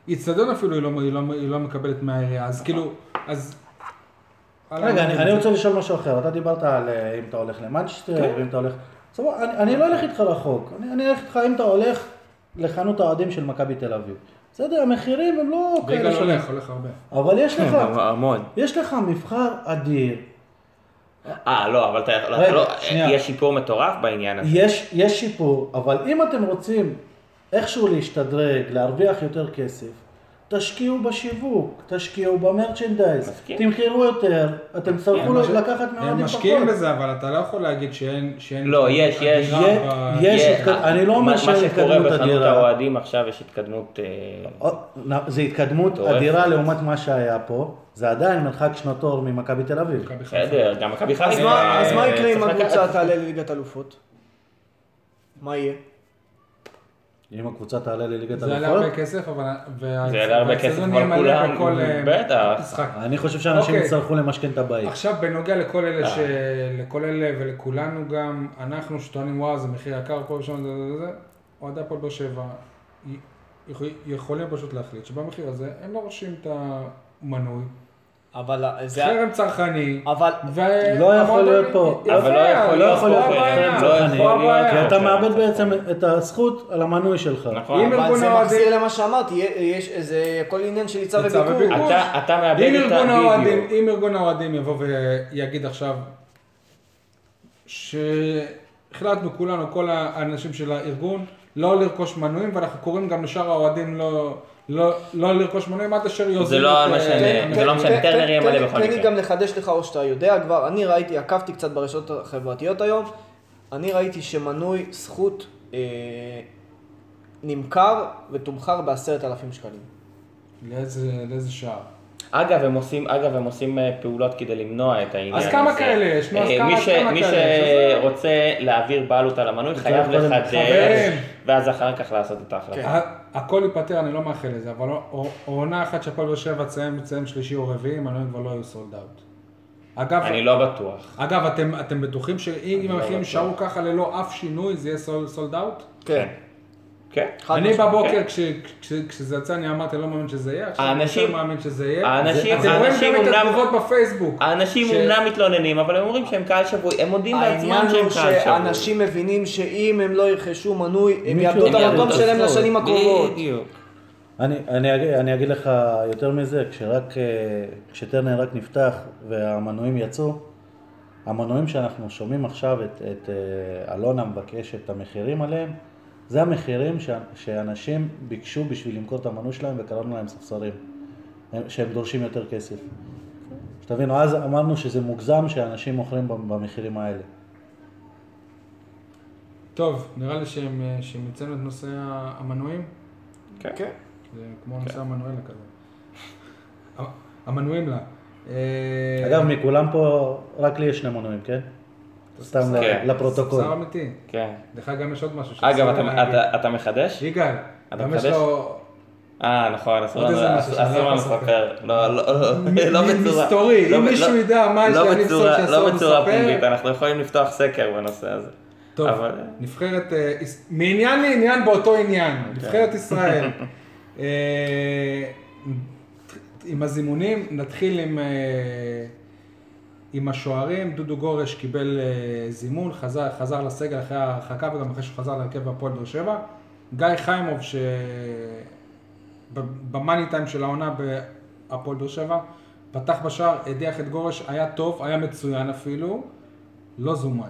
Speaker 2: איצטדיון אפילו היא לא, היא, לא, היא לא מקבלת מהעירייה, אז כאילו, אז...
Speaker 5: רגע, אני אני רוצה לשאול משהו אחר. אתה דיברת על אה, אם אתה הולך
Speaker 2: כן.
Speaker 5: למנצ'סטר, ואם אתה הולך... סבבה, אני- אני לא אלך איתך רחוק. אני- אני אלך איתך אם אתה הולך לחנות האוהדים של מכבי תל אביב. בסדר, המחירים הם לא
Speaker 2: יגאל
Speaker 5: שונים.
Speaker 2: הולך, כן, הולך הרבה.
Speaker 5: אבל יש לך,
Speaker 4: המון.
Speaker 5: יש לך מבחר אדיר.
Speaker 4: אה, לא, אבל אתה,
Speaker 5: רגע,
Speaker 4: אתה לא,
Speaker 5: שנייה.
Speaker 4: יש שיפור מטורף בעניין הזה.
Speaker 5: יש, יש שיפור, אבל אם אתם רוצים איכשהו להשתדרג, להרוויח יותר כסף, תשקיעו בשיווק, תשקיעו במרצ'נדייז,
Speaker 4: מסכים.
Speaker 5: תמכרו יותר, אתם תצטרכו
Speaker 2: הם מש-
Speaker 5: לקחת
Speaker 2: הם
Speaker 5: מהאוהדים פחות.
Speaker 2: משקיעים בזה, אבל אתה לא יכול להגיד שאין... שאין
Speaker 4: לא, יש, יש.
Speaker 2: אגירה
Speaker 5: יה-
Speaker 2: ב-
Speaker 5: יש
Speaker 4: יהיה-
Speaker 5: התקד- אני לא אומר
Speaker 4: מה-
Speaker 5: שאין
Speaker 4: מה
Speaker 5: התקדמות
Speaker 4: שקורה בחנות
Speaker 5: אדירה.
Speaker 4: האוהדים עכשיו, יש התקדמות... אה,
Speaker 5: עוד- נ- זה התקדמות
Speaker 4: מטורפת.
Speaker 5: אדירה לעומת מה שהיה פה, זה עדיין מרחק שנות אור ממכבי תל אביב.
Speaker 2: מכבי חיפה.
Speaker 4: בסדר, גם מכבי חיפה.
Speaker 3: אז, מה, אז מה יקרה אם
Speaker 4: אה, צריך לקחת-
Speaker 3: הקבוצה תעלה לליגת אלופות? מה יהיה?
Speaker 5: אם הקבוצה תעלה לליגת
Speaker 2: זה יעלה
Speaker 5: אלופות,
Speaker 2: הרבה כסף, אבל... וה-
Speaker 4: זה יעלה הרבה
Speaker 2: והאצטדיון
Speaker 4: כסף,
Speaker 2: יהיה
Speaker 4: אבל
Speaker 2: מלא
Speaker 4: כולם-
Speaker 2: בכל, אה,
Speaker 4: בטח.
Speaker 2: משחק.
Speaker 5: אני חושב שאנשים
Speaker 2: אוקיי.
Speaker 5: יצטרכו למשכן את הבית.
Speaker 2: עכשיו בנוגע לכל אלה,
Speaker 4: אה.
Speaker 2: ש... לכל אלה ולכולנו גם, אנחנו שטוענים וואו זה מחיר יקר פה ושם, זה זה זה, אוהדי הפועל באר שבע י- יכול- יכולים פשוט להחליט שבמחיר הזה הם לא רושמים את המנוי,
Speaker 3: אבל אה, זה...
Speaker 2: חרם צרכני,
Speaker 3: אבל...
Speaker 2: ו...
Speaker 5: לא יכול להיות פה.
Speaker 2: יפה,
Speaker 4: אבל לא יכול
Speaker 2: לא
Speaker 4: להיות
Speaker 2: יכול
Speaker 5: פה כן,
Speaker 2: להיות הבעיה,
Speaker 5: חרם צרכני.
Speaker 2: פה
Speaker 5: כי
Speaker 2: הבעיה.
Speaker 5: אתה
Speaker 4: אוקיי,
Speaker 5: מאבד
Speaker 4: אוקיי.
Speaker 5: בעצם את הזכות על המנוי שלך.
Speaker 4: נכון.
Speaker 2: אם-
Speaker 3: אבל
Speaker 2: ארגון
Speaker 3: זה
Speaker 2: האוהדים-
Speaker 3: מחזיר למה שאמרתי, יש, זה כל עניין של היצע
Speaker 2: היצע
Speaker 3: וביקור.
Speaker 2: וביקוש.
Speaker 4: אתה- אתה מאבד
Speaker 2: אם
Speaker 4: את
Speaker 2: ארגון האוהדים,
Speaker 4: הווידאו.
Speaker 2: אם ארגון האוהדים יבוא ויגיד עכשיו שהחלטנו כולנו, כל האנשים של הארגון, לא לרכוש מנויים, ואנחנו קוראים גם לשאר האוהדים לא, לא, לא לרכוש מנויים עד אשר יוזיל
Speaker 4: לא
Speaker 2: את,
Speaker 4: מה
Speaker 2: אה,
Speaker 4: שאני-
Speaker 3: כן,
Speaker 2: המנויים.
Speaker 4: זה לא משנה,
Speaker 3: תן-
Speaker 4: טרנר יהיה
Speaker 3: תן-
Speaker 4: מלא
Speaker 3: כן, תן לי-
Speaker 4: בכל
Speaker 3: תן לי
Speaker 4: מקרה.
Speaker 3: גם לחדש לך או שאתה יודע כבר, אני ראיתי, עקבתי קצת ברשתות החברתיות היום, אני ראיתי שמנוי זכות אה, נמכר ותומכר בעשרת אלפים שקלים.
Speaker 2: כן. לאיזה, לאיזה שער.
Speaker 4: אגב, הם עושים, אגב, הם עושים אה, פעולות כדי למנוע את העניין הזה.
Speaker 2: אז כמה כאלה יש? נו, אז
Speaker 4: אה,
Speaker 2: כמה-
Speaker 4: מי
Speaker 2: אז
Speaker 4: ש-
Speaker 2: כמה
Speaker 4: מי
Speaker 2: כאלה?
Speaker 4: שרוצה להעביר בעלות על המנוי חייב
Speaker 5: קודם-
Speaker 4: לחדש,
Speaker 2: חברים.
Speaker 4: ואז אחר כך לעשות את ההחלטה.
Speaker 2: ה- הכל ייפתר, אני לא מאחל לזה, אבל או- עונה אחת שהפועל באר שבע תסיים תסיים שלישי או רביעי, מנויים כבר לא יהיו סולד אאוט. אגב,
Speaker 4: אני לא בטוח.
Speaker 2: אגב, אתם, אתם בטוחים שאם
Speaker 4: לא
Speaker 2: המחירים
Speaker 4: בטוח.
Speaker 2: יישארו ככה ללא אף שינוי, זה יהיה סולד אאוט?
Speaker 3: כן.
Speaker 4: כן.
Speaker 3: חד
Speaker 2: אני
Speaker 3: משמעית.
Speaker 2: בבוקר, כש- כש- כשזה יצא, אני אמרתי, לא מאמין שזה יהיה, עכשיו אני
Speaker 4: האנשים-
Speaker 2: יותר מאמין שזה יהיה.
Speaker 4: האנשים-
Speaker 2: אתם רואים
Speaker 4: האנשים
Speaker 2: גם את
Speaker 4: אומנם- אה-
Speaker 2: התגובות בפייסבוק.
Speaker 4: האנשים
Speaker 2: ש-
Speaker 4: אומנם מתלוננים, אבל הם אומרים שהם קהל שבוי, הם מודים
Speaker 3: העניין
Speaker 4: בעצמם
Speaker 3: הוא
Speaker 4: שהם קהל שבוי.
Speaker 3: שאנשים מבינים שאם הם לא ירכשו מנוי, הם
Speaker 5: מישהו
Speaker 3: יאבדו את
Speaker 5: אומר,
Speaker 3: המקום
Speaker 5: "אתה
Speaker 3: שלהם
Speaker 4: הזכות".
Speaker 3: לשנים הקרובות.
Speaker 4: בדיוק.
Speaker 5: אני, אני, אגיד, אני אגיד לך יותר מזה, כשרק, אה, כשטרנר רק נפתח והמנויים יצאו, המנויים שאנחנו שומעים עכשיו את, את אה, אלונה מבקש את המחירים עליהם, זה המחירים ש, שאנשים ביקשו בשביל למכור את המנוי שלהם וקראנו להם ספסרים, הם- שהם דורשים יותר כסף. שתבינו, אז אמרנו שזה מוגזם שאנשים מוכרים במחירים האלה.
Speaker 2: טוב, נראה לי שהם אה, שהם יצאנו את נושא המנויים.
Speaker 4: כן.
Speaker 3: כן.
Speaker 2: זה כמו נושא המנואלה כזה. המנויים לה. אה,
Speaker 5: אגב, מכולם פה, רק לי יש שני מנויים, כן? סתם ל-
Speaker 4: כן.
Speaker 5: לפרוטוקול.
Speaker 2: שר אמיתי.
Speaker 4: כן.
Speaker 2: לך גם יש עוד משהו. שאתה
Speaker 4: אגב,
Speaker 2: צריך
Speaker 4: אתה-
Speaker 2: להגיד.
Speaker 4: אתה- אתה מחדש?
Speaker 2: יגאל,
Speaker 4: אתה
Speaker 2: גם יש
Speaker 4: מחדש?
Speaker 2: לו...
Speaker 4: אה, נכון, אסור
Speaker 2: עוד
Speaker 4: לנו
Speaker 2: איזה משהו שאני לא
Speaker 4: אסור לנו
Speaker 2: יכול לספר.
Speaker 4: לספר. לא, לא, לא,
Speaker 2: מ-
Speaker 4: לא
Speaker 2: מ-
Speaker 4: בצורה.
Speaker 2: מסתורי,
Speaker 4: לא
Speaker 2: אם
Speaker 4: ב-
Speaker 2: מישהו
Speaker 4: לא-
Speaker 2: ידע מה יש
Speaker 4: לא
Speaker 2: לי לפסול
Speaker 4: בצורה-
Speaker 2: שאסור
Speaker 4: לא בצורה
Speaker 2: לספר.
Speaker 4: פומבית, אנחנו יכולים לפתוח סקר בנושא הזה.
Speaker 2: טוב,
Speaker 4: אבל-
Speaker 2: נבחרת, אה, יש- מעניין לעניין באותו עניין, נבחרת ישראל. אה, עם הזימונים, נתחיל עם, אה, עם השוערים, דודו גורש קיבל אה, זימון, חזר, חזר לסגל אחרי ההרחקה וגם אחרי שהוא חזר להרכב הפועל באר שבע. גיא חיימוב, ש... ב- במאני טיים של העונה בהפועל באר שבע, פתח בשער, הדיח את גורש, היה טוב, היה מצוין אפילו, לא זומן.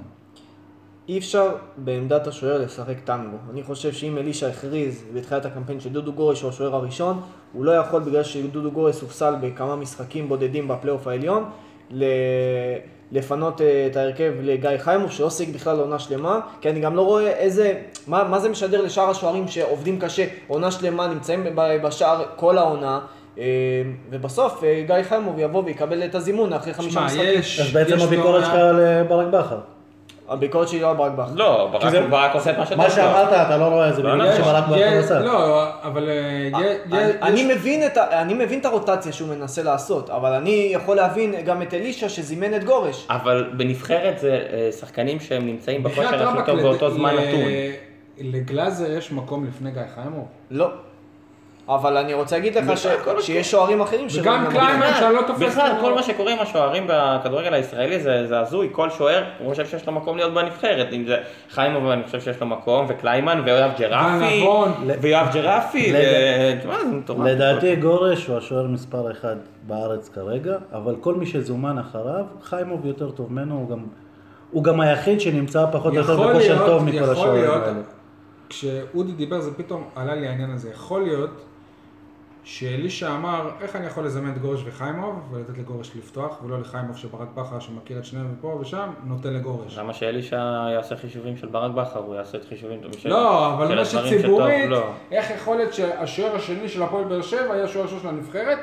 Speaker 3: אי אפשר בעמדת השוער לשחק טנגו. אני חושב שאם אלישע הכריז בתחילת הקמפיין שדודו גורש הוא השוער הראשון, הוא לא יכול בגלל שדודו גורש הופסל בכמה משחקים בודדים בפלייאוף העליון, ל... לפנות אה, את ההרכב לגיא חיימוב שלא שיחק בכלל עונה שלמה, כי אני גם לא רואה איזה, מה, מה זה משדר לשאר השוערים שעובדים קשה עונה שלמה, נמצאים ב- בשער כל העונה, אה, ובסוף אה, גיא חיימוב יבוא ויקבל את הזימון אחרי חמישה
Speaker 2: שמע,
Speaker 3: משחקים.
Speaker 2: יש...
Speaker 5: אז בעצם
Speaker 2: יש
Speaker 5: הביקורת
Speaker 2: תורה-
Speaker 5: שלך על אה, ברק בכר.
Speaker 3: הביקורת שלי לא על ברק בכר.
Speaker 4: לא, ברק-
Speaker 5: כי זה-
Speaker 4: ברק עושה את מה שאתה
Speaker 5: מה שאמרת אתה לא רואה, זה
Speaker 4: לא,
Speaker 5: בגלל
Speaker 4: לא,
Speaker 5: שברק בכר
Speaker 2: יש-
Speaker 5: עשה.
Speaker 2: לא, אבל אה,
Speaker 3: אני-
Speaker 2: יה- יה- יש-
Speaker 3: אני מבין את ה- אני מבין את הרוטציה שהוא מנסה לעשות, אבל אני יכול להבין גם את אלישע שזימן את גורש.
Speaker 4: אבל בנבחרת זה אה, שחקנים שהם נמצאים
Speaker 2: בחייאת
Speaker 4: בכושר הכי
Speaker 2: רבאק,
Speaker 4: טוב
Speaker 2: לד-
Speaker 4: באותו זמן
Speaker 2: ל-
Speaker 4: נתון.
Speaker 2: אה, לגלאזר יש מקום לפני גיא חיימוב.
Speaker 3: לא. אבל אני רוצה להגיד לך ש-
Speaker 4: בכלל,
Speaker 3: שיש שוערים אחרים
Speaker 2: וגם
Speaker 3: שרואים
Speaker 2: קליינמן
Speaker 3: במקום.
Speaker 2: שאני לא תופס...
Speaker 4: בכלל,
Speaker 2: לו-
Speaker 4: כל מה שקורה עם השוערים בכדורגל הישראלי זה זה הזוי, כל שוער הוא חושב שיש לו מקום להיות בנבחרת, אם זה חיימוב אני חושב שיש לו מקום, וקליימן, ויואב ג'רפי,
Speaker 2: ונבון.
Speaker 4: ויואב ג'רפי,
Speaker 5: ל-
Speaker 4: ו- תשמע, זה
Speaker 2: לא.
Speaker 4: מטורף.
Speaker 5: לדעתי גורש הוא השוער מספר אחד בארץ כרגע, אבל כל מי שזומן אחריו, חיימוב יותר טוב ממנו, הוא גם, הוא גם היחיד שנמצא פחות או יותר
Speaker 2: יכול
Speaker 5: בכושר
Speaker 2: להיות,
Speaker 5: טוב מכל
Speaker 2: יכול
Speaker 5: השוערים
Speaker 2: להיות,
Speaker 5: האלה.
Speaker 2: כשאודי דיבר זה פתאום עלה לי העניין הזה. יכול להיות שאלישע אמר, איך אני יכול לזמן את גורש וחיימוב, ולתת לגורש לפתוח, ולא לחיימוב שברק בכר שמכיר את שניהם מפה ושם, נותן לגורש.
Speaker 4: למה שאלישע יעשה חישובים של ברק בכר, הוא יעשה את חישובים של
Speaker 2: לא, אבל
Speaker 4: כן. של
Speaker 2: מה
Speaker 4: הדברים שטוב,
Speaker 2: שציבורית,
Speaker 4: לא.
Speaker 2: איך יכול להיות שהשוער השני של הפועל באר שבע היה השוער הראשון של הנבחרת,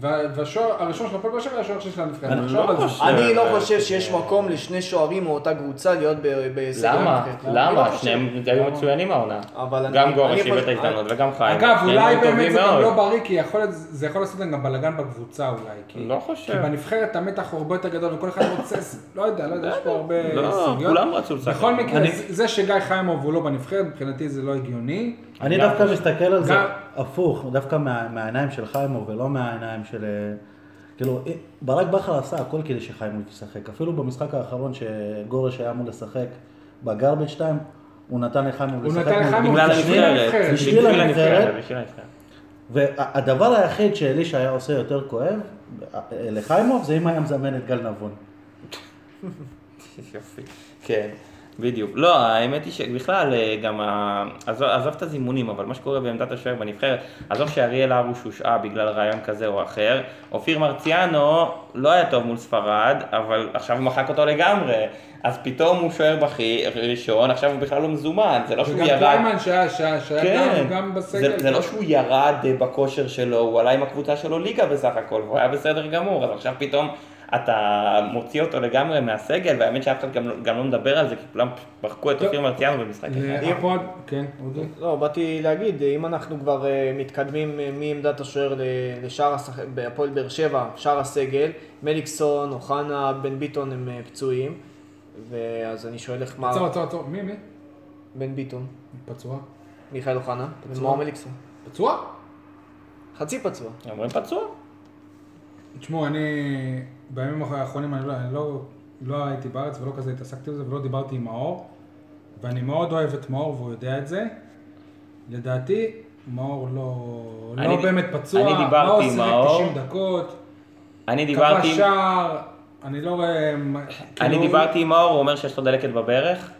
Speaker 2: וה- והשוער הראשון של הפועל באר שבע היה השוער השני של הנבחרת.
Speaker 4: אני
Speaker 2: תחשוב
Speaker 4: לא
Speaker 2: על זה.
Speaker 4: חושב.
Speaker 3: אני לא
Speaker 4: אה,
Speaker 3: חושב שיש מקום לשני שוערים מאותה קבוצה להיות ב- בסגל.
Speaker 4: למה?
Speaker 3: הנבחרת. אני לא
Speaker 4: למה?
Speaker 3: חושב.
Speaker 4: שניהם היו מצוינים העונה.
Speaker 3: אבל אני-
Speaker 4: גם
Speaker 3: אני
Speaker 4: גורש
Speaker 3: חושב-
Speaker 4: הביא את ההזדמנות וגם חיים.
Speaker 2: אגב,
Speaker 4: שניהם
Speaker 2: אולי
Speaker 4: היו טובים
Speaker 2: באמת זה גם
Speaker 4: מאוד.
Speaker 2: לא בריא, כי יכול להיות- זה יכול לעשות להם גם בלאגן בקבוצה אולי. כי-
Speaker 4: לא חושב.
Speaker 2: כי בנבחרת המתח הוא הרבה יותר גדול, וכל אחד רוצה, לא יודע, לא יודע, יש פה הרבה
Speaker 4: לא,
Speaker 2: סוגיות.
Speaker 4: כולם רצו לשחק.
Speaker 2: בכל מקרה,
Speaker 5: אני-
Speaker 2: זה זה שגיא חיימוב הוא לא בנבחרת, מבחינתי זה לא הגיוני.
Speaker 5: אני
Speaker 4: גם
Speaker 5: דווקא מסתכל על זה
Speaker 2: גם-
Speaker 5: הפוך, דווקא מה- מהעיניים של חיימוב ולא מהעיניים של... אה, כאילו, אה, ברק בכר עשה הכל כדי שחיימוב ישחק. אפילו במשחק האחרון שגורש היה אמור לשחק בגרבג' 2, הוא נתן לחיימוב
Speaker 2: הוא
Speaker 5: לשחק.
Speaker 2: נתן
Speaker 5: מול-
Speaker 2: לחיימוב
Speaker 4: בגלל
Speaker 2: בשביל
Speaker 4: הנבחרת.
Speaker 2: הנבחרת.
Speaker 5: בשביל הנבחרת.
Speaker 4: בשביל הנבחרת.
Speaker 5: והדבר היחיד שאלישע היה עושה יותר כואב אה, לחיימוב, זה אם היה מזמן את גל נבון.
Speaker 4: יופי. כן, בדיוק. לא, האמת היא שבכלל, אה, גם ה... עזוב, עזוב את הזימונים, אבל מה שקורה בעמדת השוער בנבחרת, עזוב שאריאל הרוש הושעה בגלל רעיון כזה או אחר, אופיר מרציאנו לא היה טוב מול ספרד, אבל עכשיו הוא מחק אותו לגמרי. אז פתאום הוא שוער בכי ראשון, עכשיו הוא בכלל לא מזומן, זה לא שהוא
Speaker 2: וגם
Speaker 4: ירד.
Speaker 2: קליימן שהיה- שהיה שהיה
Speaker 4: כן,
Speaker 2: גם- גם בסגל.
Speaker 4: זה, זה לא שהוא ירד אה, בכושר שלו, הוא עלה עם הקבוצה שלו ליגה בסך הכל, והוא היה בסדר גמור, אז עכשיו פתאום אתה מוציא אותו לגמרי מהסגל, והאמת שאף אחד גם, לא- גם לא מדבר על זה, כי כולם מחקו את
Speaker 2: טוב. אה,
Speaker 4: אופיר מרציאנו במשחק אחד.
Speaker 2: להפועל, כן, אודי.
Speaker 3: לא, באתי להגיד, אם אנחנו כבר אה, מתקדמים אה, מעמדת השוער ל- לשאר השח... בהפועל באר שבע, שאר הסגל, מליקסון, אוחנה, בן ביטון הם אה, פצועים, ואז אני שואל איך מה...
Speaker 2: עצור, עצור, עצור. מי, מי?
Speaker 3: בן ביטון,
Speaker 2: פצוע.
Speaker 3: מיכאל אוחנה,
Speaker 2: פצוע.
Speaker 3: ומאור מליקסון.
Speaker 2: פצוע?
Speaker 3: חצי פצוע.
Speaker 4: אומרים פצוע?
Speaker 2: תשמעו, אני בימים האחרונים אני לא, אני לא, לא הייתי בארץ ולא כזה התעסקתי בזה ולא דיברתי עם מאור, ואני מאוד אוהב את מאור והוא יודע את זה. לדעתי, מאור לא,
Speaker 4: אני-
Speaker 2: לא באמת פצוע,
Speaker 4: אני דיברתי עם מאור.
Speaker 2: מאור שיחק 90 דקות,
Speaker 4: אני דיברתי,
Speaker 2: כבש
Speaker 4: עם-
Speaker 2: שער, אני לא רואה... מה-
Speaker 4: אני
Speaker 2: כאילו,
Speaker 4: דיברתי עם מאור, הוא אומר שיש לו דלקת בברך.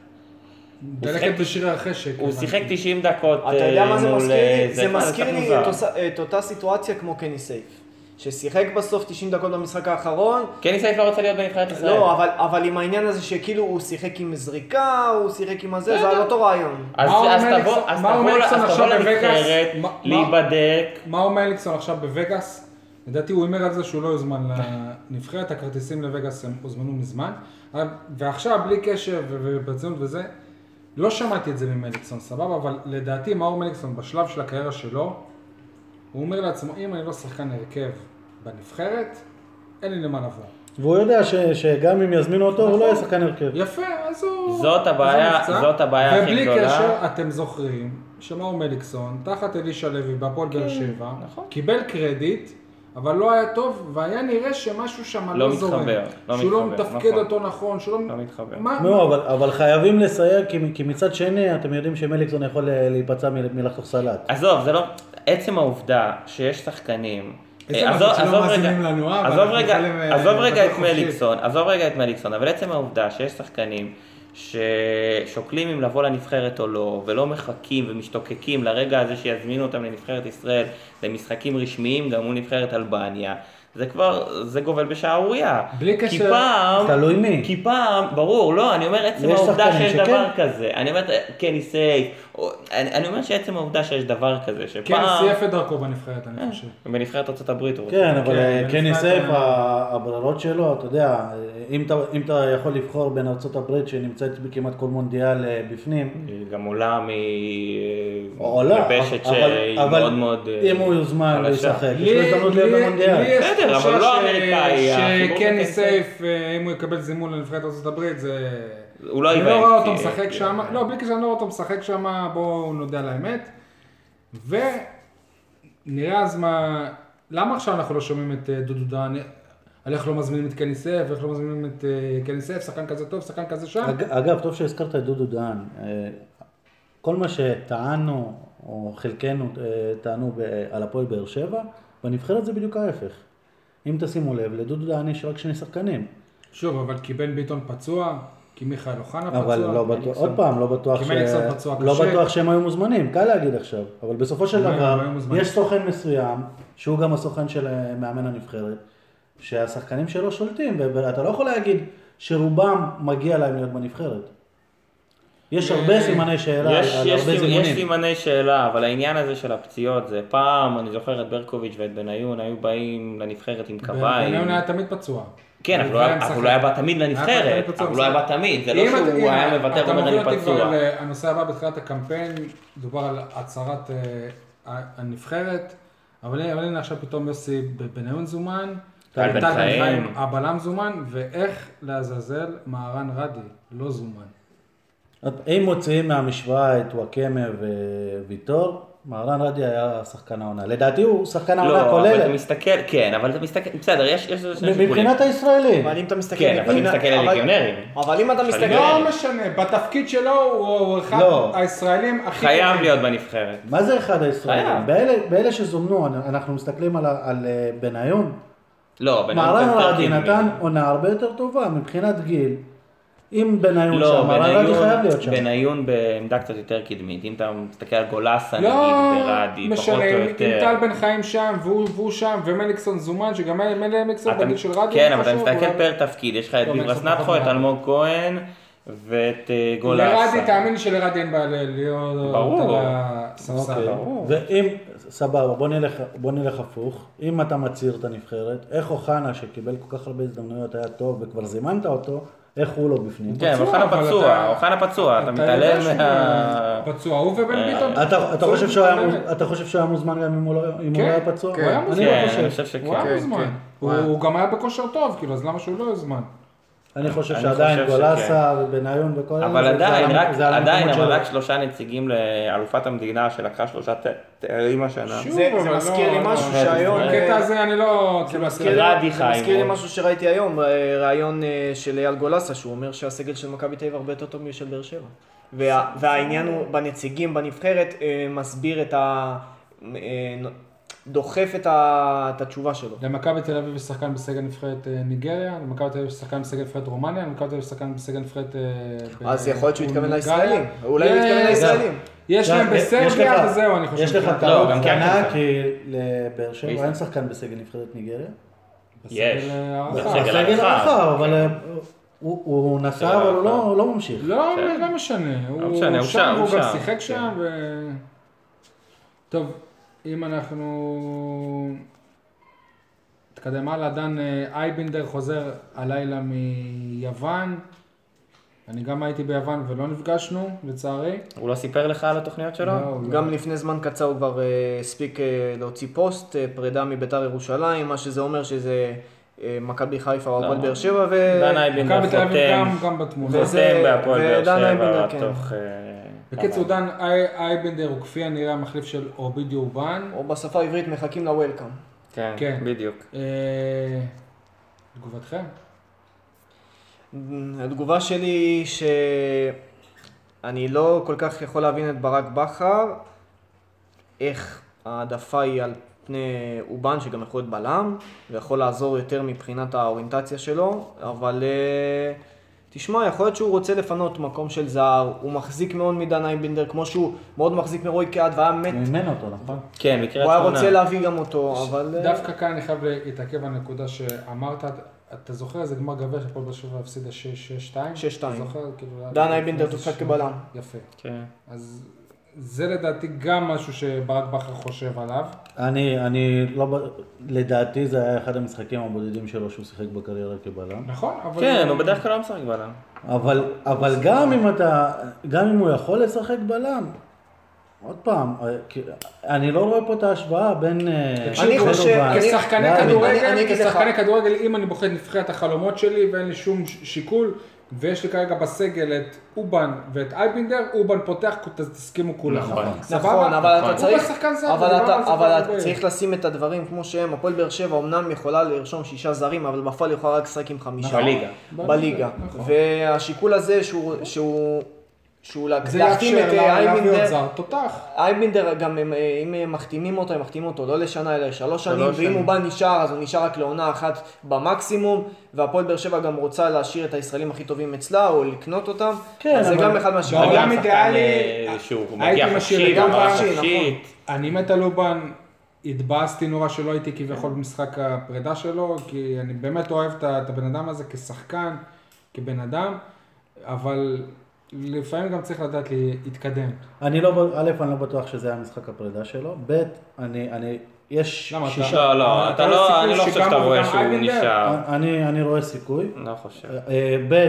Speaker 2: דלקת
Speaker 4: שיחק-
Speaker 2: בשיר החשק.
Speaker 4: הוא
Speaker 2: הבנתי.
Speaker 4: שיחק 90 דקות
Speaker 3: אתה יודע
Speaker 4: אה,
Speaker 3: מה זה
Speaker 4: מול,
Speaker 3: מזכיר לי?
Speaker 4: אה,
Speaker 3: זה
Speaker 4: מה,
Speaker 3: מזכיר לי
Speaker 4: קצת
Speaker 3: את
Speaker 4: מוזר.
Speaker 3: אותה- את אותה סיטואציה כמו קני סייף. ששיחק בסוף 90 דקות במשחק האחרון,
Speaker 4: קני סייף לא רוצה להיות בנבחרת ישראל.
Speaker 3: לא, אבל, אבל עם העניין הזה שכאילו הוא שיחק עם זריקה, הוא שיחק עם הזה, זה על אותו רעיון.
Speaker 4: אז
Speaker 2: מאור
Speaker 4: אז
Speaker 2: מליקסון-
Speaker 4: תבוא- אז
Speaker 2: מאור
Speaker 4: תבוא ל-
Speaker 2: מליקסון
Speaker 4: אז
Speaker 2: עכשיו
Speaker 4: תבוא
Speaker 2: בווגאס.
Speaker 4: לנבחרת,
Speaker 2: מה- מה-
Speaker 4: להיבדק.
Speaker 2: מאור מליקסון עכשיו בווגאס, לדעתי הוא הימר על זה שהוא לא יוזמן לנבחרת, הכרטיסים לווגאס הם הוזמנו מזמן, אה, ועכשיו בלי קשר ו- וברצינות וזה, לא שמעתי את זה ממליקסון, סבבה, אבל לדעתי מאור מליקסון בשלב של הקריירה שלו, הוא אומר לעצמו, אם אני לא שחקן הרכב בנבחרת, אין לי למה לבוא.
Speaker 5: והוא יודע ש, שגם אם יזמינו אותו, הוא לא יהיה
Speaker 2: נכון.
Speaker 5: שחקן הרכב.
Speaker 2: יפה, אז הוא...
Speaker 4: זאת
Speaker 2: אז הוא
Speaker 4: הבעיה-
Speaker 2: נפצע.
Speaker 4: זאת הבעיה הכי
Speaker 2: ובלי
Speaker 4: גדולה.
Speaker 2: קשר, אתם זוכרים שמאור מליקסון, תחת אלישע לוי בהפועל באר שבע,
Speaker 4: נכון.
Speaker 2: קיבל קרדיט, אבל לא היה טוב, והיה נראה שמשהו שם
Speaker 4: לא
Speaker 2: לא זורם.
Speaker 4: מתחבר, לא
Speaker 2: שהוא לא
Speaker 4: מתחבר,
Speaker 2: מתפקד
Speaker 4: נכון.
Speaker 2: אותו נכון, שהוא לא...
Speaker 4: לא מתחבר.
Speaker 2: מה-
Speaker 5: לא, אבל, אבל חייבים לסייג, כי, כי מצד שני, אתם יודעים שמליקסון יכול אה, להיפצע מ- מלחתוך סלט.
Speaker 4: עזוב, זה לא... עצם העובדה שיש שחקנים...
Speaker 2: עצם
Speaker 4: אה,
Speaker 2: העובדה
Speaker 4: עזוב-
Speaker 2: שלא
Speaker 4: עזוב רגע-
Speaker 2: מאזינים לנו, אה, אבל
Speaker 4: עזוב
Speaker 2: אנחנו
Speaker 4: רגע-
Speaker 2: יכולים, אה,
Speaker 4: עזוב רגע
Speaker 2: לדבר
Speaker 4: את
Speaker 2: חופשי.
Speaker 4: מליקסון, עזוב רגע את מליקסון, אבל עצם העובדה שיש שחקנים ששוקלים אם לבוא לנבחרת או לא, ולא מחכים ומשתוקקים לרגע הזה שיזמינו אותם לנבחרת ישראל, למשחקים רשמיים גם מול נבחרת אלבניה, זה כבר, זה גובל בשערורייה.
Speaker 2: בלי
Speaker 4: כי
Speaker 2: קשר- לא
Speaker 4: פעם,
Speaker 5: תלוי מי.
Speaker 4: כי פעם, ברור, לא, אני אומר עצם
Speaker 5: יש
Speaker 4: העובדה
Speaker 5: שחקנים
Speaker 4: שיש דבר
Speaker 5: שכן.
Speaker 4: כזה, אני אומר, קני סייף, או- אני אני אומר שעצם העובדה שיש דבר כזה,
Speaker 2: כן,
Speaker 4: שפעם,
Speaker 2: סייף את דרכו בנבחרת,
Speaker 4: אה.
Speaker 2: אני חושב.
Speaker 4: בנבחרת ארצות הברית הוא רוצה.
Speaker 5: כן, אבל
Speaker 2: כן,
Speaker 5: אה, קני
Speaker 2: בנפרד,
Speaker 5: סייף,
Speaker 2: אה,
Speaker 5: ה- הברירות שלו, אתה יודע, אה, אם אתה, אם אתה יכול לבחור בין ארצות הברית שנמצאת בכמעט כל מונדיאל אה, בפנים,
Speaker 4: גם עולה מ...
Speaker 5: או עולה,
Speaker 4: יבשת
Speaker 5: אבל-
Speaker 4: שהיא
Speaker 5: אבל
Speaker 4: מאוד מאוד... אה,
Speaker 5: אם הוא יוזמן
Speaker 4: חלשה.
Speaker 5: לשחק, יש לו
Speaker 2: לי-
Speaker 5: הזדמנות להיות
Speaker 2: לי- לי
Speaker 5: במונדיאל.
Speaker 2: יש
Speaker 4: בסדר, אבל
Speaker 2: תחושה
Speaker 4: לא
Speaker 2: ש-
Speaker 4: האמריקאי, החיבור
Speaker 2: שקני
Speaker 4: לקני סייף.
Speaker 2: סייף, אה, אם הוא יקבל זימון לנבחרת ארצות הברית, זה...
Speaker 4: הוא לא
Speaker 2: אני
Speaker 4: ייבהל,
Speaker 2: לא רואה אותו
Speaker 4: כי-
Speaker 2: משחק
Speaker 4: כי-
Speaker 2: שם, לא, בלי קשר, אני לא רואה אותו משחק שם, בואו נודה על האמת. ונראה אז מה, למה עכשיו אנחנו לא שומעים את אה, דודו דן, על איך לא מזמינים את קניסף, איך לא מזמינים את אה, קניסף, שחקן כזה טוב, שחקן כזה שם?
Speaker 5: אג- אגב, טוב שהזכרת את דודו דהן. אה, כל מה שטענו, או חלקנו אה, טענו ב- על הפועל באר שבע, בנבחרת זה בדיוק ההפך. אם תשימו לב, לדודו דהן יש רק שני שחקנים.
Speaker 2: שוב, אבל כי בן ביטון פצוע, כי מיכאל אוחנה פצוע.
Speaker 5: אבל לא בטוח, עוד פעם, לא בטוח
Speaker 2: כי
Speaker 5: ש...
Speaker 2: מליקסון פצוע
Speaker 5: לא
Speaker 2: קשה.
Speaker 5: בטוח שהם היו מוזמנים, קל להגיד עכשיו. אבל בסופו של
Speaker 2: לא, הם
Speaker 5: דבר,
Speaker 2: לא היו מוזמנים.
Speaker 5: יש סוכן מסוים, שהוא גם הסוכן של אה, מאמן הנבחרת, שהשחקנים שלו שולטים, ו- ואתה לא יכול להגיד שרובם מגיע להם להיות בנבחרת. יש
Speaker 2: אה,
Speaker 5: הרבה סימני שאלה על
Speaker 4: יש,
Speaker 5: על
Speaker 4: יש,
Speaker 5: הרבה
Speaker 4: סימ, יש
Speaker 5: זימונים.
Speaker 4: סימני שאלה, אבל העניין הזה של הפציעות זה פעם, אני זוכר את ברקוביץ' ואת בניון, היו באים לנבחרת עם קביים.
Speaker 2: בניון היה תמיד פצוע.
Speaker 4: כן, אבל הוא היה- אבל הוא היה בא תמיד
Speaker 2: היה
Speaker 4: לנבחרת,
Speaker 2: תמיד פצוע,
Speaker 4: אבל הוא היה בא תמיד, זה לא
Speaker 2: אם אתה-
Speaker 4: שהוא
Speaker 2: אם
Speaker 4: היה
Speaker 2: אתה
Speaker 4: מוותר ואומר
Speaker 2: מוביל
Speaker 4: אני
Speaker 2: אותי כבר
Speaker 4: פצוע.
Speaker 2: ל- הנושא הבא בתחילת הקמפיין, דובר על הצהרת אה, ה- הנבחרת, אבל הנה- אבל הנה עכשיו פתאום יוסי ב- בניון זומן,
Speaker 4: טל בן
Speaker 2: טל
Speaker 4: חיים.
Speaker 2: הבלם זומן, ואיך לעזאזל מהרן רדי לא זומן.
Speaker 5: אם מוציאים מהמשוואה את וואקמה וויטור, מהרן רדי היה שחקן העונה. לדעתי הוא שחקן העונה
Speaker 4: לא, אבל אתה
Speaker 5: כוללת.
Speaker 4: מסתכל, כן, אבל אתה מסתכל, בסדר, יש יש לזה שני שיקולים.
Speaker 5: מבחינת הישראלים.
Speaker 3: אבל אם אתה מסתכל...
Speaker 4: כן, אבל אם
Speaker 3: מבחינה-
Speaker 4: תסתכל על
Speaker 3: אבל-
Speaker 4: לגיונרים.
Speaker 3: אבל אם אתה מסתכל...
Speaker 2: לא משנה, בתפקיד שלו הוא- הוא אחד
Speaker 5: לא.
Speaker 2: הישראלים הכי...
Speaker 4: חייב
Speaker 2: טובים.
Speaker 4: להיות בנבחרת.
Speaker 5: מה זה אחד הישראלים?
Speaker 4: חייב.
Speaker 5: באלה, באלה שזומנו, אנ- אנחנו מסתכלים על, ה- על אה, בניון.
Speaker 4: לא, בניון
Speaker 5: מהרן
Speaker 4: יותר
Speaker 5: רדי
Speaker 4: קדמי.
Speaker 5: נתן עונה הרבה יותר טובה מבחינת גיל. אם
Speaker 4: לא,
Speaker 5: בניון
Speaker 2: לא,
Speaker 5: שם, מהרן רדי חייב להיות שם.
Speaker 4: בניון בעמדה קצת יותר קדמית. אם אתה מסתכל על גולסה, נגיד,
Speaker 2: לא
Speaker 4: ברדי, פחות או
Speaker 2: משנה, אם אם
Speaker 4: יותר.
Speaker 2: טל בן חיים שם, והוא והוא שם, ומליקסון זומן, שגם מל- מליקסון
Speaker 4: אתה-
Speaker 2: בגיל של רדי,
Speaker 4: כן,
Speaker 2: הוא
Speaker 4: אבל אתה
Speaker 2: חשוב,
Speaker 4: מסתכל
Speaker 2: אולי-
Speaker 4: פר תפקיד, יש לך את
Speaker 2: לא,
Speaker 4: ביברס
Speaker 2: מליקסון
Speaker 4: נטחו, את
Speaker 2: פחות
Speaker 4: אלמוג כהן ואת אה, גולסה.
Speaker 2: לרדי, תאמין לי שלרדי אין בעיה ל- להיות
Speaker 4: ברור.
Speaker 2: על הספסל.
Speaker 4: כן.
Speaker 5: אוקיי. ואם, סבבה, בוא נלך, בוא נלך הפוך. אם אתה מצהיר את הנבחרת, איך אוחנה שקיבל כל כך הרבה הזדמנויות היה טוב וכבר זימנת אותו, איך הוא לא בפנים?
Speaker 4: כן, אבל
Speaker 2: פצוע,
Speaker 4: אוחנה
Speaker 2: אבל
Speaker 4: פצוע,
Speaker 2: אתה-
Speaker 4: אוחנה פצוע, אתה
Speaker 2: יודע
Speaker 4: מתעלם
Speaker 2: שהוא
Speaker 4: מה... אה,
Speaker 2: פצוע, הוא ובן ביטון.
Speaker 5: אתה, אתה,
Speaker 2: פצוע
Speaker 5: חושב שהוא היה,
Speaker 4: כן.
Speaker 2: באמת.
Speaker 5: מוז- אתה חושב שהוא היה מוזמן גם אם הוא לא, אם
Speaker 2: כן,
Speaker 5: הוא לא היה פצוע?
Speaker 2: כן, הוא היה
Speaker 5: אני
Speaker 2: מוזמן.
Speaker 5: לא
Speaker 4: כן,
Speaker 5: חושב.
Speaker 4: אני חושב שכן.
Speaker 2: הוא היה
Speaker 3: כן.
Speaker 2: מוזמן. הוא-
Speaker 3: וואי.
Speaker 2: הוא גם היה בכושר טוב, כאילו, אז למה שהוא לא יוזמן?
Speaker 5: אני חושב
Speaker 4: אני
Speaker 5: שעדיין
Speaker 4: חושב
Speaker 5: גולסה ובניון וכל אלה,
Speaker 4: אבל
Speaker 5: זה- זה
Speaker 4: עדיין,
Speaker 5: על-
Speaker 4: רק-
Speaker 5: זה על
Speaker 4: עדיין,
Speaker 5: המקומות
Speaker 4: אבל
Speaker 5: שלו.
Speaker 4: רק שלושה נציגים לאלופת המדינה שלקחה שלושה ת- תארים השנה.
Speaker 2: שוב,
Speaker 3: זה- זה
Speaker 2: אבל לא-
Speaker 3: מזכיר לי
Speaker 2: לא-
Speaker 3: משהו
Speaker 2: לא-
Speaker 3: שהיום-
Speaker 2: הקטע הזה אני לא... כאילו,
Speaker 3: מזכיר לי-
Speaker 4: רדי
Speaker 3: זה
Speaker 4: חיים,
Speaker 3: מזכיר לי
Speaker 4: הוא-
Speaker 3: משהו שראיתי היום, אה, ראיון אה, של אייל גולסה, שהוא אומר שהסגל של מכבי תל אביב הרבה יותר טוב משל באר שבע. וה- והעניין הוא בנציגים בנבחרת, אה, מסביר את ה... אה, דוחף את ה- את התשובה שלו.
Speaker 2: למכבי תל אביב יש שחקן בסגל נבחרת אה, ניגריה, למכבי תל אביב יש שחקן בסגל נבחרת רומניה, למכבי תל אביב יש שחקן בסגל נבחרת... אה,
Speaker 3: אז יכול להיות שהוא התכוון
Speaker 2: בהונגריה.
Speaker 3: לישראלים. אולי הוא
Speaker 2: אה,
Speaker 3: התכוון
Speaker 2: אה,
Speaker 3: לישראלים.
Speaker 2: יש
Speaker 5: גם-
Speaker 2: להם
Speaker 5: יש לך-
Speaker 2: בסרביה וזהו, אני חושב.
Speaker 5: יש לך
Speaker 2: כן.
Speaker 5: טעות
Speaker 4: גם כן
Speaker 5: קטנה,
Speaker 4: נמצא.
Speaker 5: כי לבאר שבע
Speaker 4: יש.
Speaker 5: אין שחקן בסגל נבחרת ניגריה. אה,
Speaker 4: יש.
Speaker 2: בסגל הרחב.
Speaker 4: בסגל
Speaker 5: בסגל
Speaker 4: הרחב.
Speaker 5: הרחב, אבל אה, הוא- הוא נסע, אבל הוא לא- הוא לא ממשיך.
Speaker 2: לא,
Speaker 4: בסדר.
Speaker 2: לא משנה. הוא
Speaker 4: כן. משנה, הוא
Speaker 2: שם,
Speaker 4: שם,
Speaker 2: הוא
Speaker 4: הוא
Speaker 2: גם
Speaker 4: שם.
Speaker 2: שיחק
Speaker 4: כן.
Speaker 2: שם, ו... טוב, אם אנחנו... נתקדם הלאה, דן אה, אייבינדר חוזר הלילה מיוון. אני גם הייתי ביוון ולא נפגשנו, לצערי.
Speaker 4: הוא לא סיפר לך על התוכניות שלו?
Speaker 2: לא, הוא לא.
Speaker 3: גם לפני זמן קצר הוא כבר אה, הספיק אה, להוציא פוסט, אה, פרידה מביתר ירושלים, מה שזה אומר שזה אה, מכבי חיפה או
Speaker 4: לא.
Speaker 3: הפועל באר שבע, ו...
Speaker 4: דן אייבינדר
Speaker 2: מכבי תל אביב גם-
Speaker 4: חותם,
Speaker 2: גם בתמונה.
Speaker 3: וזה-
Speaker 4: חותם בהפועל
Speaker 3: ודן
Speaker 4: באר שבע
Speaker 3: אייבינדר, כן.
Speaker 4: תוך... אה,
Speaker 2: בקיצור,
Speaker 4: כמה-
Speaker 2: דן אי- אייבנדר הוא כפי הנראה המחליף של אובידי אובן.
Speaker 3: או בשפה העברית מחכים ל-Welcome.
Speaker 4: כן,
Speaker 2: כן.
Speaker 4: בדיוק.
Speaker 2: אה, תגובתכם?
Speaker 3: התגובה שלי היא שאני לא כל כך יכול להבין את ברק בכר, איך העדפה היא על פני אובן, שגם יכול להיות בלם, ויכול לעזור יותר מבחינת האוריינטציה שלו, אבל אה, תשמע, יכול להיות שהוא רוצה לפנות מקום של זהר, הוא מחזיק מאוד מדן אייבנדר, כמו שהוא מאוד מחזיק מרוי קהד, והיה מת,
Speaker 5: מימן אותו, נכון?
Speaker 4: כן, מקריית
Speaker 3: הוא היה
Speaker 4: שמונה.
Speaker 3: רוצה להביא גם אותו, אבל... אה,
Speaker 2: דווקא כאן אני חייב להתעכב על נקודה שאמרת, אתה זוכר איזה גמר גביע שהפועל באר שבע הפסידה 6-2?
Speaker 3: 6-2.
Speaker 2: אתה זוכר? כאילו, היה-
Speaker 3: דן אייבנדר תופסק
Speaker 2: איזשהו-
Speaker 3: כבלם.
Speaker 2: יפה.
Speaker 4: כן.
Speaker 2: אז זה לדעתי גם משהו שברק בכר חושב עליו.
Speaker 5: אני, אני לא, ב- לדעתי זה היה אחד המשחקים הבודדים שלו שהוא שיחק בקריירה כבלם.
Speaker 2: נכון, אבל...
Speaker 4: כן, הוא בדרך כלל לא משחק בלם.
Speaker 5: אבל, אבל גם אם אתה, גם אם הוא יכול לשחק בלם, עוד פעם, אה, כי- אני לא רואה פה את ההשוואה בין... אה,
Speaker 2: תקשיב,
Speaker 4: לא
Speaker 5: בין
Speaker 3: חושב-
Speaker 5: אובן-
Speaker 3: אני-
Speaker 2: כשחקני
Speaker 5: די,
Speaker 3: אני- אני
Speaker 2: כדורגל,
Speaker 3: אגיד לך.
Speaker 2: כשחקני כדורגל, אם אני בוחר את נבחרת החלומות שלי ואין לי שום ש- שיקול, ויש לי כרגע בסגל את אובן ואת אייבינדר, אובן פותח, ת- תסכימו כולם.
Speaker 4: נכון.
Speaker 2: סבבה?
Speaker 3: נכון,
Speaker 4: נכון.
Speaker 3: אבל אתה
Speaker 2: הוא
Speaker 3: צריך,
Speaker 2: בשחקן זר,
Speaker 3: אבל
Speaker 2: דיברנו
Speaker 3: אתה-
Speaker 2: על זה כבר
Speaker 3: אבל אתה
Speaker 2: הרבה.
Speaker 3: צריך לשים את הדברים כמו שהם. הפועל באר שבע אמנם יכולה לרשום שישה זרים, אבל בפועל היא יכולה רק לשחק עם חמישה.
Speaker 4: נכון. בליגה.
Speaker 3: בליגה.
Speaker 2: נכון.
Speaker 3: והשיקול הזה שהוא, שהוא, שהוא לה-
Speaker 2: זה
Speaker 3: להחתים
Speaker 2: יאפשר
Speaker 3: את אה,
Speaker 2: לה להביא עוד
Speaker 3: אייבינדר,
Speaker 2: זר תותח.
Speaker 3: אייבינדר גם הם, אה, אם הם מחתימים אותו, הם מחתימים אותו לא לשנה אלא לשלוש שנים,
Speaker 4: שלוש
Speaker 3: ואם
Speaker 4: שנים.
Speaker 3: הוא בא נשאר אז הוא נשאר רק לעונה אחת במקסימום, והפועל באר שבע גם רוצה להשאיר את הישראלים הכי טובים אצלה או לקנות אותם,
Speaker 5: כן,
Speaker 3: אז זה
Speaker 5: אבל-
Speaker 3: גם אחד מהשיקולים.
Speaker 2: בעולם
Speaker 4: שחקן,
Speaker 2: אידיאלי,
Speaker 4: אה, שהוא
Speaker 2: הייתי
Speaker 4: מגיע
Speaker 2: משאיר
Speaker 4: חופשי,
Speaker 2: גם
Speaker 4: הוא
Speaker 2: חופשי,
Speaker 4: מגיע
Speaker 3: נכון.
Speaker 4: חופשית.
Speaker 2: אני מת על אובן, התבאסתי נורא שלא הייתי כביכול במשחק הפרידה שלו, כי אני באמת אוהב את ה- את הבן אדם הזה כשחקן, כבן אדם, אבל לפעמים גם צריך לדעת להתקדם.
Speaker 5: אני לא, א', אני לא בטוח שזה היה משחק הפרידה שלו, ב', אני, אני, יש
Speaker 2: למה אתה-
Speaker 5: שישה,
Speaker 4: לא, לא,
Speaker 2: אתה
Speaker 4: אתה
Speaker 2: לא
Speaker 4: לא,
Speaker 2: סיכוי
Speaker 4: אני לא חושב
Speaker 2: שגם
Speaker 4: שאתה
Speaker 2: הוא
Speaker 4: רואה
Speaker 2: וגם
Speaker 4: שהוא
Speaker 2: אייבנדר?
Speaker 4: נשאר.
Speaker 5: אני, אני רואה סיכוי.
Speaker 4: לא חושב.
Speaker 5: אה, ב',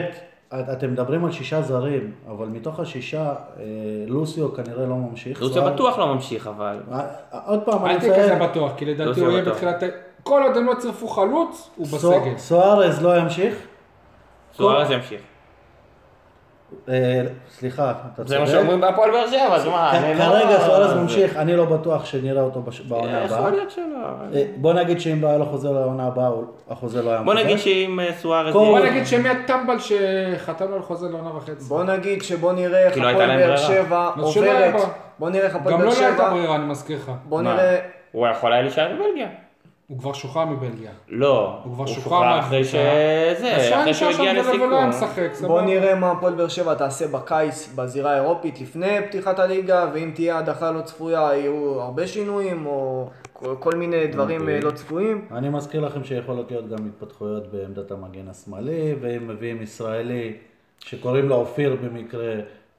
Speaker 5: את- אתם מדברים על שישה זרים, אבל מתוך השישה, אה, לוסיו כנראה לא ממשיך.
Speaker 4: לוציו
Speaker 5: סואר-
Speaker 4: בטוח לא ממשיך, אבל...
Speaker 5: אה, עוד פעם, אני
Speaker 2: אל תהיה כזה
Speaker 5: מציין,
Speaker 2: בטוח, כי
Speaker 4: לא
Speaker 2: לדעתי
Speaker 4: זה
Speaker 2: הוא יהיה
Speaker 4: בטוח.
Speaker 2: בתחילת... ה- כל עוד הם לא צירפו חלוץ, הוא
Speaker 5: סוא-
Speaker 2: בסגל.
Speaker 5: סוארז לא ימשיך?
Speaker 4: סוארז ימשיך.
Speaker 5: אה, סליחה, אתה
Speaker 4: זה מה
Speaker 5: צודק.
Speaker 4: שאומרים בהפועל באר שבע, אז מה?
Speaker 5: כ-
Speaker 4: אני לא-
Speaker 5: כרגע סוארז
Speaker 4: זה-
Speaker 5: ממשיך, אני לא בטוח שנראה אותו בש- בעונה
Speaker 4: אה, יכול
Speaker 5: הבאה.
Speaker 4: להיות שלא. אבל-
Speaker 5: אה, בוא נגיד שאם לא היה לו חוזה לעונה הבאה, הוא- החוזה לא היה
Speaker 4: בוא
Speaker 5: מוכן.
Speaker 4: נגיד שאם אה, סוארז...
Speaker 5: קור-
Speaker 2: בוא
Speaker 4: יהיה-
Speaker 2: נגיד שמי הטמבל שחתמנו על חוזה לעונה וחצי.
Speaker 3: בוא נגיד שבוא נראה איך
Speaker 4: כי לא הייתה
Speaker 3: הפועל
Speaker 4: להם
Speaker 3: באר
Speaker 4: ברירה.
Speaker 3: שבע
Speaker 2: אז שלא היה
Speaker 3: עוברת,
Speaker 2: ברירה.
Speaker 3: בוא נראה איך הפועל
Speaker 2: גם
Speaker 3: באר
Speaker 2: לו לא הייתה
Speaker 3: שבע,
Speaker 2: ברירה, אני מזכיר לך.
Speaker 3: בוא
Speaker 4: מה?
Speaker 3: נראה,
Speaker 4: הוא יכול היה להישאר בבלגיה.
Speaker 2: הוא כבר שוחרר מבלגיה.
Speaker 4: לא.
Speaker 2: הוא כבר שוחרר מהקבוצה.
Speaker 4: אחרי
Speaker 2: אז
Speaker 4: שזה,
Speaker 2: שהיה
Speaker 4: אחרי
Speaker 2: נשאר
Speaker 4: שהוא
Speaker 2: שם
Speaker 4: הגיע לסיכום.
Speaker 2: ולא היה משחק,
Speaker 3: בוא
Speaker 2: סבבה.
Speaker 3: נראה מה הפועל באר שבע תעשה בקיץ בזירה האירופית לפני פתיחת הליגה, ואם תהיה הדחה לא צפויה יהיו הרבה שינויים או כל- כל מיני דברים אה, לא צפויים.
Speaker 5: אני מזכיר לכם שיכולות להיות גם התפתחויות בעמדת המגן השמאלי, ואם מביאים ישראלי שקוראים לו אופיר במקרה,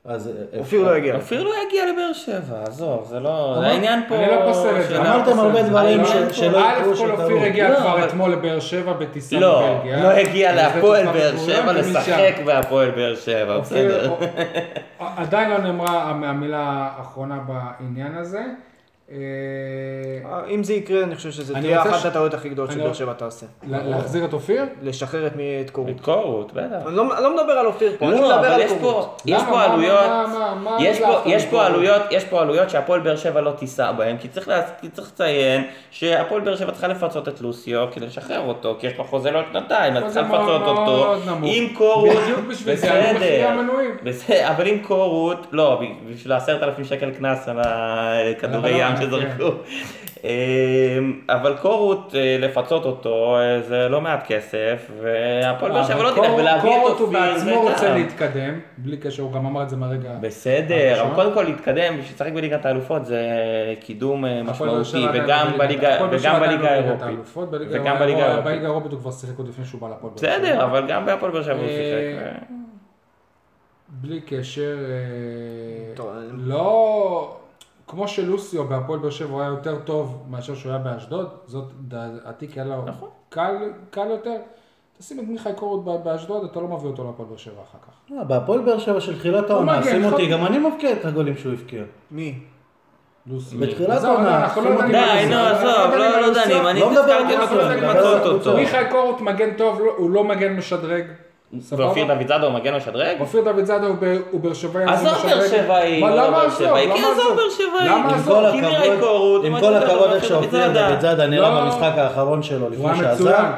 Speaker 5: אז... אה,
Speaker 3: אופיר
Speaker 5: אה,
Speaker 3: לא יגיע.
Speaker 4: אופיר לא יגיע לבאר שבע, עזוב, זה לא... זה העניין פה...
Speaker 2: אני לא פוסל את זה.
Speaker 4: של ה-
Speaker 5: אמרתם הרבה דברים
Speaker 2: לא,
Speaker 5: ש-
Speaker 2: אין פה.
Speaker 5: שלא יקרו,
Speaker 2: א' כל
Speaker 5: שקרו.
Speaker 2: אופיר הגיע
Speaker 4: לא,
Speaker 2: כבר
Speaker 4: אבל-
Speaker 2: אתמול לבאר שבע בטיסה
Speaker 4: לא,
Speaker 2: מבלגיה.
Speaker 4: לא הגיע להפועל באר
Speaker 2: הוא
Speaker 4: שבע
Speaker 2: לא הגיע
Speaker 4: לשחק
Speaker 2: משם.
Speaker 4: בהפועל באר שבע,
Speaker 2: אופיר,
Speaker 4: בסדר.
Speaker 2: א- (laughs) עדיין לא נאמרה המ- המילה האחרונה בעניין הזה. אה,
Speaker 3: אם זה יקרה אני חושב שזה
Speaker 2: אני
Speaker 3: תהיה
Speaker 2: רוצה
Speaker 3: אחת
Speaker 2: ש-
Speaker 3: הטעויות הכי גדולות
Speaker 2: אני
Speaker 3: שבאר
Speaker 2: רוצה-
Speaker 3: שבע תעשה.
Speaker 2: לה- להחזיר את אופיר?
Speaker 3: לשחרר את מי- את קורות.
Speaker 4: התקורות, בטח.
Speaker 3: אני לא אני לא מדבר על אופיר פה, אני
Speaker 4: לא,
Speaker 3: מדבר
Speaker 4: אבל
Speaker 3: על
Speaker 4: יש
Speaker 3: קורות.
Speaker 4: פה, יש
Speaker 2: למה?
Speaker 4: פה
Speaker 2: מה-
Speaker 4: עלויות,
Speaker 2: מה- מה- מה
Speaker 4: יש פה-
Speaker 2: הדלפת
Speaker 4: יש
Speaker 2: מפה?
Speaker 4: פה עלויות, יש פה עלויות שהפועל באר שבע לא תישא בהן, כי צריך להז- כי צריך לציין שהפועל באר שבע צריכה לפצות את לוסיו כדי לשחרר אותו, כי יש לו חוזה לעוד שנתיים, אז
Speaker 2: חוזה
Speaker 4: צריכה לפצות
Speaker 2: מאוד
Speaker 4: אותו,
Speaker 2: נמוך.
Speaker 4: עם קורות,
Speaker 2: בדיוק בשביל זה, עלו מחירי המנויים.
Speaker 4: בסדר, אבל עם קורות, לא, בשביל העשרת אלפים שקל קנס על הכדורי
Speaker 2: אבל לא,
Speaker 4: ים פעם שזרקו. אה, אבל קורות, אה, לפצות אותו, אה, זה לא מעט כסף, והפועל באר שבע לא תלך ולהביא את
Speaker 2: קורות הוא
Speaker 4: אופיר.
Speaker 2: בעצמו
Speaker 4: זה
Speaker 2: רוצה
Speaker 4: גם.
Speaker 2: להתקדם, בלי קשר, הוא גם אמר את זה מהרגע.
Speaker 4: בסדר,
Speaker 2: הראשון.
Speaker 4: אבל קודם כל להתקדם, בשביל לשחק בליגת האלופות זה קידום אה,
Speaker 2: הפועל באר שבע
Speaker 4: משמעותי,
Speaker 2: עדיין
Speaker 4: וגם
Speaker 2: לא
Speaker 4: בליגה
Speaker 2: הפועל באר שבע
Speaker 4: וגם
Speaker 2: עדיין לא
Speaker 4: בליגה
Speaker 2: בליגת
Speaker 4: האירופית.
Speaker 2: האלופות, בליגה-
Speaker 4: וגם בליגה האירופית.
Speaker 2: בליגה האירופית הוא כבר שיחק עוד לפני שהוא בא לפועל באר שבע.
Speaker 4: בסדר, אבל גם בהפועל באר שבע הוא
Speaker 2: אה,
Speaker 4: שיחק. אה.
Speaker 2: בלי קשר, אה,
Speaker 3: טוב,
Speaker 2: לא... כמו שלוסיו בהפועל באר שבע הוא היה יותר טוב מאשר שהוא היה באשדוד, זאת דעתי כי היה לו
Speaker 4: נכון.
Speaker 2: קל- קל יותר. תשים את מיכאי קורות ב- באשדוד, אתה לא מביא אותו להפועל באר שבע אחר כך.
Speaker 5: אה, בהפועל באר שבע של תחילת העונה,
Speaker 2: מגן,
Speaker 5: שים אותי,
Speaker 2: נכון.
Speaker 5: גם אני מבקיע את הגולים שהוא הבקיע.
Speaker 3: מי?
Speaker 2: לוסיו.
Speaker 5: בתחילת
Speaker 2: עזוב,
Speaker 5: העונה,
Speaker 2: אנחנו לא
Speaker 5: שים
Speaker 2: דנים
Speaker 5: אותו.
Speaker 2: על לוסיו. אנחנו דנים על
Speaker 4: די, נו, עזוב, לא לא
Speaker 2: לוסיו.
Speaker 4: דנים, אני
Speaker 5: לא מדבר על
Speaker 4: נזכרתי אותו, צריך
Speaker 5: לוסיו, אני מדבר על
Speaker 4: למצות אותו.
Speaker 5: הקבוצה.
Speaker 2: מיכאי קורות מגן טוב, לא- הוא לא מגן משדרג. סבבה?
Speaker 4: ואופיר דוידזאדו מגן או שדרג?
Speaker 2: אופיר דוד זאדה הוא באר- הוא באר שבעי. אז
Speaker 4: עזוב
Speaker 2: הוא משדרג.
Speaker 4: באר שבעי,
Speaker 2: מה,
Speaker 4: לא
Speaker 2: למה
Speaker 4: באר
Speaker 2: עזוב?
Speaker 4: שבעי,
Speaker 2: למה
Speaker 4: כי עזוב
Speaker 2: עזוב?
Speaker 4: באר שבעי.
Speaker 2: למה
Speaker 5: עם
Speaker 2: עזוב?
Speaker 5: כל
Speaker 4: לא, כי מירי
Speaker 5: הכבוד,
Speaker 4: קורות,
Speaker 5: עם
Speaker 4: מה
Speaker 5: כל
Speaker 4: שאתה
Speaker 5: הכבוד
Speaker 4: אומר,
Speaker 5: איך
Speaker 4: דוידזאדה.
Speaker 5: שהופיע דוידזאדה נראה
Speaker 2: לא.
Speaker 5: במשחק האחרון שלו
Speaker 2: הוא
Speaker 5: לפני
Speaker 2: היה מצוין.
Speaker 5: שעזב.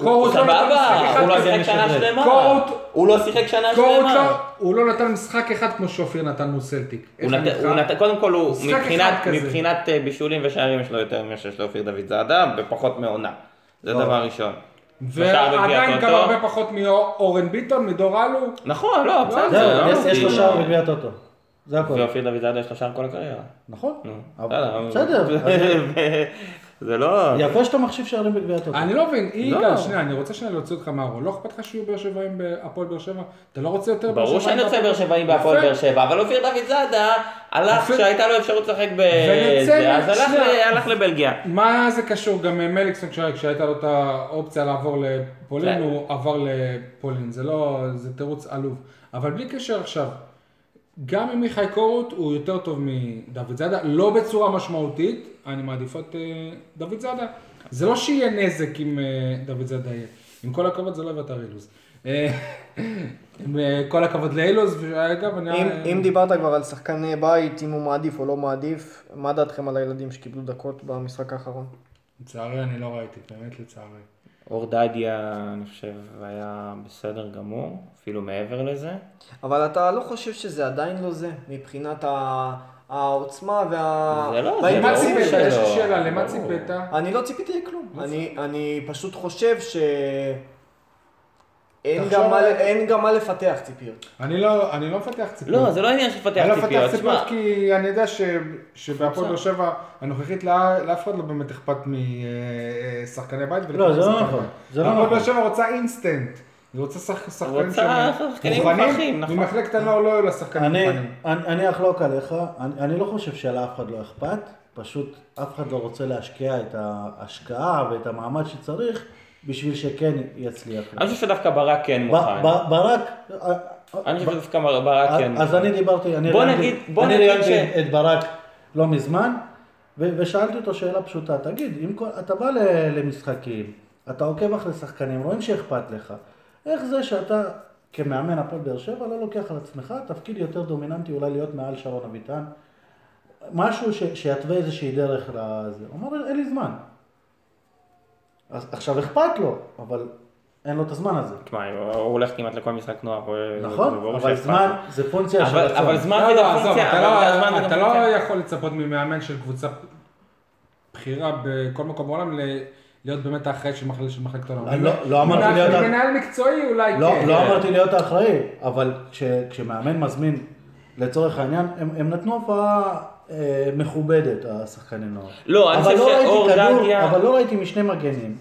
Speaker 2: קורות לא נתן משחק
Speaker 4: סבבה,
Speaker 2: אחד
Speaker 4: הוא לא
Speaker 2: כזה.
Speaker 4: שיחק שנה
Speaker 5: משדרג.
Speaker 4: שלמה.
Speaker 2: קורות-
Speaker 4: הוא לא שיחק שנה
Speaker 2: קורות
Speaker 4: שלמה.
Speaker 2: לא, הוא לא נתן משחק אחד כמו שאופיר נתן מול סלטיק.
Speaker 4: הוא
Speaker 2: איך
Speaker 4: נת-
Speaker 2: אני איתך?
Speaker 4: הוא נת- קודם כל הוא
Speaker 2: משחק
Speaker 4: מבחינת,
Speaker 2: אחד כזה.
Speaker 4: מבחינת אה, בישולים ושערים יש לו יותר ממה שיש לאופיר דוד זאדה בפחות מעונה. זה דבר ראשון. בשער בגביע
Speaker 2: ועדיין גם
Speaker 4: הטוטו.
Speaker 2: הרבה פחות מאורן ביטון, מדור אלו.
Speaker 4: נכון, לא, בסדר.
Speaker 5: זהו,
Speaker 4: לא
Speaker 5: יש- יש לו
Speaker 4: מסכים.
Speaker 5: שער בגביע הטוטו. זה הכל.
Speaker 4: ואופיר דוד זאדה יש לו שער כל הקריירה.
Speaker 5: נכון.
Speaker 4: נו,
Speaker 5: אבל-
Speaker 4: בסדר.
Speaker 5: בסדר. אז
Speaker 4: (laughs) זה לא...
Speaker 5: יפה שאתה מחשיב שערים בגביע הטוטו.
Speaker 2: אני לא מבין, יגאל,
Speaker 4: לא.
Speaker 2: שנייה, אני רוצה שנייה להוציא אותך מהארון. לא אכפת לך שיהיו באר שבעים בהפועל באר שבע? אתה לא רוצה יותר באר שבעים
Speaker 4: ברור שאני רוצה
Speaker 2: בהפועל-
Speaker 4: באר שבעים בהפועל
Speaker 2: יפה.
Speaker 4: באר שבע, אבל אופיר דוד זאדה הלך
Speaker 2: אופיר-
Speaker 4: כשהייתה לו אפשרות לשחק בזה,
Speaker 2: ונצא
Speaker 4: אז הלך
Speaker 2: שנייה.
Speaker 4: ל- הלך לבלגיה.
Speaker 2: מה זה קשור? גם אה, מליקסון, כשה- כשהייתה לו את האופציה לעבור לפולין,
Speaker 4: כן.
Speaker 2: הוא עבר לפולין. זה לא, זה תירוץ עלוב. אבל בלי קשר עכשיו, גם עם מיכאי קורות הוא יותר טוב מדוד זאדה, לא בצורה משמעותית, אני מעדיף את אה, דוד זאדה. זה לא שיהיה נזק אם אה, דוד זאדה יהיה. עם כל הכבוד, זה לא אביתר אילוז. אה, (laughs) עם אה, כל הכבוד לאילוז, ואגב, אני...
Speaker 3: אם, אם דיברת כבר על שחקני בית, אם הוא מעדיף או לא מעדיף, מה דעתכם על הילדים שקיבלו דקות במשחק האחרון?
Speaker 2: לצערי, אני לא ראיתי, באמת לצערי.
Speaker 4: אור דדיה, אני חושב, היה בסדר גמור, אפילו מעבר לזה.
Speaker 3: אבל אתה לא חושב שזה עדיין לא זה, מבחינת ה... העוצמה
Speaker 4: זה
Speaker 3: וה...
Speaker 4: לא, זה
Speaker 2: למה
Speaker 4: ברור
Speaker 3: והאינטנסיביות
Speaker 2: ציפית?
Speaker 4: שלא.
Speaker 2: יש לי שאלה, למה
Speaker 4: ברור.
Speaker 2: ציפית?
Speaker 3: אני לא ציפיתי לכלום. אני, אני פשוט חושב ש... אין
Speaker 2: תחשוב
Speaker 3: גם, מה,
Speaker 2: על-
Speaker 3: אין גם מה לפתח ציפיות.
Speaker 2: אני לא, אני לא מפתח ציפיות.
Speaker 4: לא, זה לא עניין של לפתח
Speaker 2: אני לא מפתח
Speaker 4: ציפיות,
Speaker 2: ציפיות
Speaker 4: שמע.
Speaker 2: כי אני יודע ש- שבהפועל באר שבע הנוכחית לא- לאף אחד לא באמת אכפת משחקני בית. ולכן
Speaker 5: זה לא
Speaker 2: שחקני
Speaker 5: נכון.
Speaker 2: בית.
Speaker 5: זה לא
Speaker 2: הפועל באר
Speaker 5: נכון.
Speaker 2: שבע רוצה אינסטנט. היא רוצה שח- שחקנים
Speaker 4: רוצה
Speaker 2: שהם
Speaker 4: שחקנים מוכחים, נכון.
Speaker 2: ממחלקת הנוער לא היו לה שחקנים
Speaker 5: אני,
Speaker 2: מוכנים.
Speaker 5: אני, אני אחלוק עליך, אני, אני לא חושב שלאף אחד לא אכפת, פשוט אף אחד לא רוצה להשקיע את ההשקעה ואת המעמד שצריך בשביל שכן יצליח.
Speaker 4: אני חושב שדווקא ברק כן
Speaker 5: ב-
Speaker 4: מוכן.
Speaker 5: ב- ברק,
Speaker 4: אני חושב שדווקא ברק כן מוכן.
Speaker 5: אז אני דיברתי, אני
Speaker 4: בוא
Speaker 5: ראיינתי-
Speaker 4: נגיד- בוא
Speaker 5: אני
Speaker 4: נגיד
Speaker 5: ראיינתי
Speaker 4: ש-
Speaker 5: את ברק לא מזמן, ו- ושאלתי אותו שאלה פשוטה, תגיד, אם כל- אתה בא ל- למשחקים, אתה עוקב אחרי שחקנים, רואים שאכפת לך, איך זה שאתה כמאמן הפועל באר שבע לא לוקח על עצמך תפקיד יותר דומיננטי, אולי להיות מעל שרון אביטן, משהו ש- שיתווה איזושהי דרך לזה, הוא אמר, אין לי זמן. אז עכשיו אכפת לו, אבל אין לו את הזמן הזה.
Speaker 4: תשמע, הוא הוא הולך כמעט לכל משחק נוער. הוא- כן, זה
Speaker 5: נכון,
Speaker 4: ברור
Speaker 5: אבל
Speaker 4: שאכפת
Speaker 5: זמן
Speaker 4: לו.
Speaker 5: זה פונקציה של
Speaker 4: אבל-
Speaker 5: רצון.
Speaker 4: אבל זמן
Speaker 2: לא,
Speaker 4: זה
Speaker 2: לא,
Speaker 4: גם
Speaker 2: עזוב,
Speaker 4: פונקציה.
Speaker 2: אתה
Speaker 4: אבל זה הזמן
Speaker 2: לא-
Speaker 4: זה גם
Speaker 2: אתה לא
Speaker 4: פונקציה.
Speaker 2: יכול לצפות ממאמן של קבוצה בכירה בכל מקום בעולם ל- להיות באמת האחראי של מחלקת- של מחלקת הנוער.
Speaker 5: אני לא- לא אמרתי להיות ה-
Speaker 2: מנהל מקצועי אולי כן.
Speaker 5: לא, לא אמרתי להיות האחראי, אבל כש- כשמאמן מזמין, לצורך העניין, הם הם נתנו הופעה אה, מכובדת, השחקני נוער.
Speaker 4: לא, אני
Speaker 5: אבל
Speaker 4: חושב
Speaker 5: ראיתי
Speaker 4: שאור
Speaker 5: כדור-
Speaker 4: דדיה-
Speaker 5: אבל לא ראיתי משני מגנים.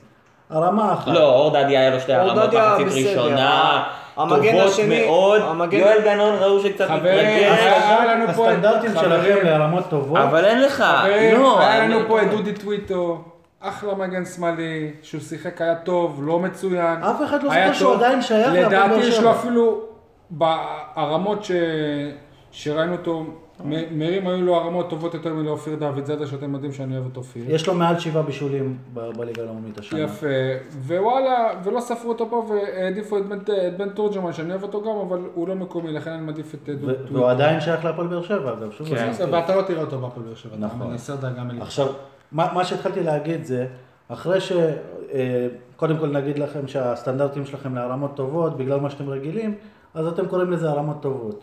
Speaker 5: הרמה אחת.
Speaker 4: לא, אור דדיה היה לו שתי
Speaker 3: אור
Speaker 4: הרמות
Speaker 3: דדיה
Speaker 4: מחצית
Speaker 3: בסדר,
Speaker 4: ראשונה,
Speaker 3: ה- המגן
Speaker 4: טובות
Speaker 3: השני-
Speaker 4: מאוד.
Speaker 3: המגן-
Speaker 4: יואל דנון ראו שקצת
Speaker 2: חברים,
Speaker 4: מתרגש.
Speaker 2: אבל- היה לנו פה את-
Speaker 5: הסטנדרטים
Speaker 2: חברים.
Speaker 5: שלכם לרמות טובות.
Speaker 4: אה, נכון. אבל אין לך,
Speaker 2: לא,
Speaker 4: לא.
Speaker 2: היה
Speaker 4: אני-
Speaker 2: לנו פה את דודי טוויטו, אחלה מגן שמאלי, שהוא שיחק היה טוב, לא מצוין.
Speaker 5: אף אחד לא
Speaker 2: היה
Speaker 5: זוכר שהוא
Speaker 2: טוב.
Speaker 5: עדיין שייך להפועל באר
Speaker 2: לדעתי יש
Speaker 5: שבע.
Speaker 2: לו אפילו, ברמות ש- שראינו אותו, מ- מרים היו לו הרמות טובות יותר מלאופיר דוד זאדה, שאתם יודעים שאני אוהב את אופיר.
Speaker 5: יש לו מעל שבעה בישולים ב- בליגה הלאומית השנה.
Speaker 2: יפה, ווואלה, ולא ספרו אותו פה והעדיפו את בן, את בן תורג'מן, שאני אוהב אותו גם, אבל הוא לא מקומי, לכן אני מעדיף את דוד
Speaker 5: ו- והוא עדיין שייך להפועל באר שבע, אגב. שוב,
Speaker 4: כן.
Speaker 5: אני מזכיר.
Speaker 2: ואתה לא תראה אותו בהפועל באר שבע,
Speaker 5: נכון.
Speaker 2: אני אסר דאגה מלך.
Speaker 5: עכשיו, מה, מה שהתחלתי להגיד זה, אחרי ש... אה, קודם כל נגיד לכם שהסטנדרטים שלכם להרמות טובות, בגלל מה שאתם רגילים, אז אתם קוראים לזה הרמות טובות.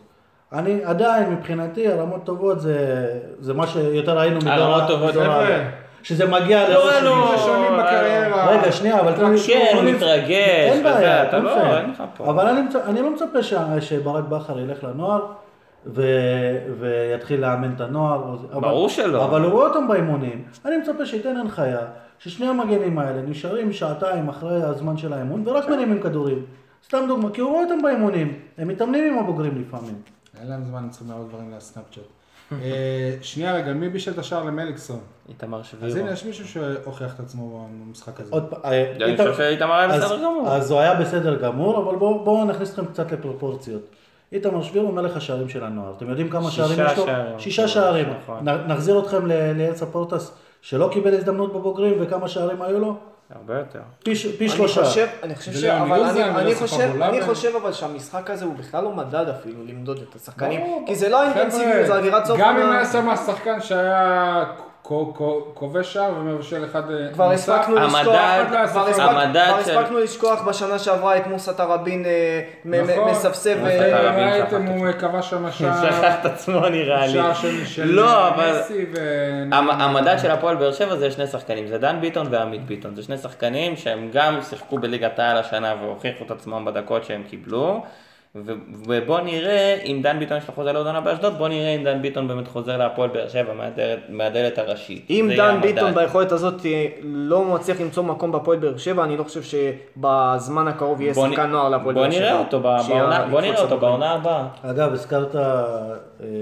Speaker 5: אני עדיין, מבחינתי, הרמות טובות זה, זה מה שיותר ראינו מדור
Speaker 4: הרמות טובות,
Speaker 5: מדור
Speaker 2: חבר'ה.
Speaker 5: א'. שזה
Speaker 4: לא,
Speaker 5: מגיע לראש
Speaker 4: לא.
Speaker 5: שלי.
Speaker 2: ראשונים בקריירה.
Speaker 5: רגע, שנייה, אבל תנו לי-
Speaker 4: כן, הוא
Speaker 5: תנו לי-
Speaker 4: מתרגש,
Speaker 5: אין
Speaker 4: וזה,
Speaker 5: בעיה,
Speaker 4: אתה לא-
Speaker 5: יפה.
Speaker 4: אין לך פה.
Speaker 5: אבל אני, מצ- אני לא מצפה ש, שברק בכר ילך לנוער ו, ויתחיל לאמן את הנוער. או זה- אבל,
Speaker 4: ברור שלא.
Speaker 5: אבל הוא רואה אותם באימונים. אני מצפה שייתן הנחיה ששני המגנים האלה נשארים שעתיים אחרי הזמן של האימון ורק מרימים כדורים. סתם דוגמא, כי הוא רואה אותם באימונים. הם מתאמנים עם הבוגרים לפעמים.
Speaker 2: אין להם זמן, הם צריכים להראות דברים לסנאפצ'אט. אה, שנייה רגע, מי בישל את השער למליקסון?
Speaker 1: איתמר
Speaker 2: אז
Speaker 1: שבירו.
Speaker 2: הנה, יש מישהו שהוכיח את עצמו במשחק הזה.
Speaker 5: עוד פעם, אה,
Speaker 4: אני
Speaker 5: איתמר-
Speaker 4: חושב שאיתמר היה
Speaker 5: אז- אה-
Speaker 4: בסדר גמור.
Speaker 5: אז הוא היה בסדר גמור, אבל בואו בוא נכניס אתכם קצת לפרופורציות. איתמר שביר הוא מלך השערים של הנוער. אתם יודעים כמה
Speaker 4: שישה
Speaker 5: שערים יש לו?
Speaker 4: שערים.
Speaker 5: שישה שערים.
Speaker 4: נכון.
Speaker 5: נ- נחזיר אתכם ל- לאל ספורטס, שלא קיבל הזדמנות בבוגרים, וכמה שערים היו לו?
Speaker 4: הרבה יותר.
Speaker 5: פי ש- פי
Speaker 3: אני
Speaker 5: שלושה.
Speaker 3: חושב, אני חושב, ש...
Speaker 2: ולאון
Speaker 3: אבל
Speaker 2: יוזן
Speaker 3: אני, אני,
Speaker 2: ולספר
Speaker 3: חושב,
Speaker 2: בולאבן.
Speaker 3: אני חושב אבל שהמשחק הזה הוא בכלל לא מדד אפילו למדוד את השחקנים,
Speaker 2: ברור,
Speaker 3: כי זה לא
Speaker 2: חבר'ה,
Speaker 3: האינטנסיביות, זה אווירת סוף
Speaker 2: גם אם
Speaker 3: העונה.
Speaker 2: היה שם השחקן שהיה כו- כו- כובש שער ומבשל אחד... אה,
Speaker 3: כבר
Speaker 2: נוסף,
Speaker 3: הספקנו
Speaker 4: המדד-
Speaker 3: לשכוח,
Speaker 2: המדד
Speaker 3: כבר
Speaker 2: של-
Speaker 3: הספק-
Speaker 4: המדד
Speaker 3: כבר
Speaker 4: של-
Speaker 3: הספקנו לשכוח בשנה שעברה את מוסא תראבין אה, מ- מ-
Speaker 2: נכון.
Speaker 3: מספסב.
Speaker 2: מתי
Speaker 3: אה,
Speaker 4: אתה מבין,
Speaker 2: ראיתם,
Speaker 4: שכחתי.
Speaker 2: הוא כבש שם
Speaker 4: (laughs)
Speaker 2: שער
Speaker 4: שכח את עצמו נראה לי.
Speaker 2: שער של של
Speaker 4: לא, אבל
Speaker 2: מסי ו...
Speaker 4: המ- המדד של הפועל באר שבע זה שני שחקנים, זה דן ביטון ועמית ביטון, זה שני שחקנים שהם גם שיחקו בליגת העל השנה והוכיחו את עצמם בדקות שהם קיבלו, ו- ובוא נראה אם דן ביטון יש לו חוזה לעוד עונה באשדוד, בוא נראה אם דן ביטון באמת חוזר להפועל באר שבע מהדלת- מהדלת הראשית.
Speaker 3: אם
Speaker 4: זה יהיה
Speaker 3: דן
Speaker 4: המדד.
Speaker 3: ביטון ביכולת הזאת אה, לא מצליח למצוא מקום בהפועל באר שבע, אני לא חושב שבזמן הקרוב יהיה
Speaker 4: בוא נ-
Speaker 3: שחקן נוער להפועל
Speaker 4: בוא
Speaker 3: באר שבע.
Speaker 4: נראה אותו ב-
Speaker 3: שיהיה
Speaker 4: בעונה-
Speaker 3: יקפוץ
Speaker 4: בוא נראה אותו
Speaker 3: לבוגרים.
Speaker 4: בעונה הבאה.
Speaker 5: אגב, הזכרת אה,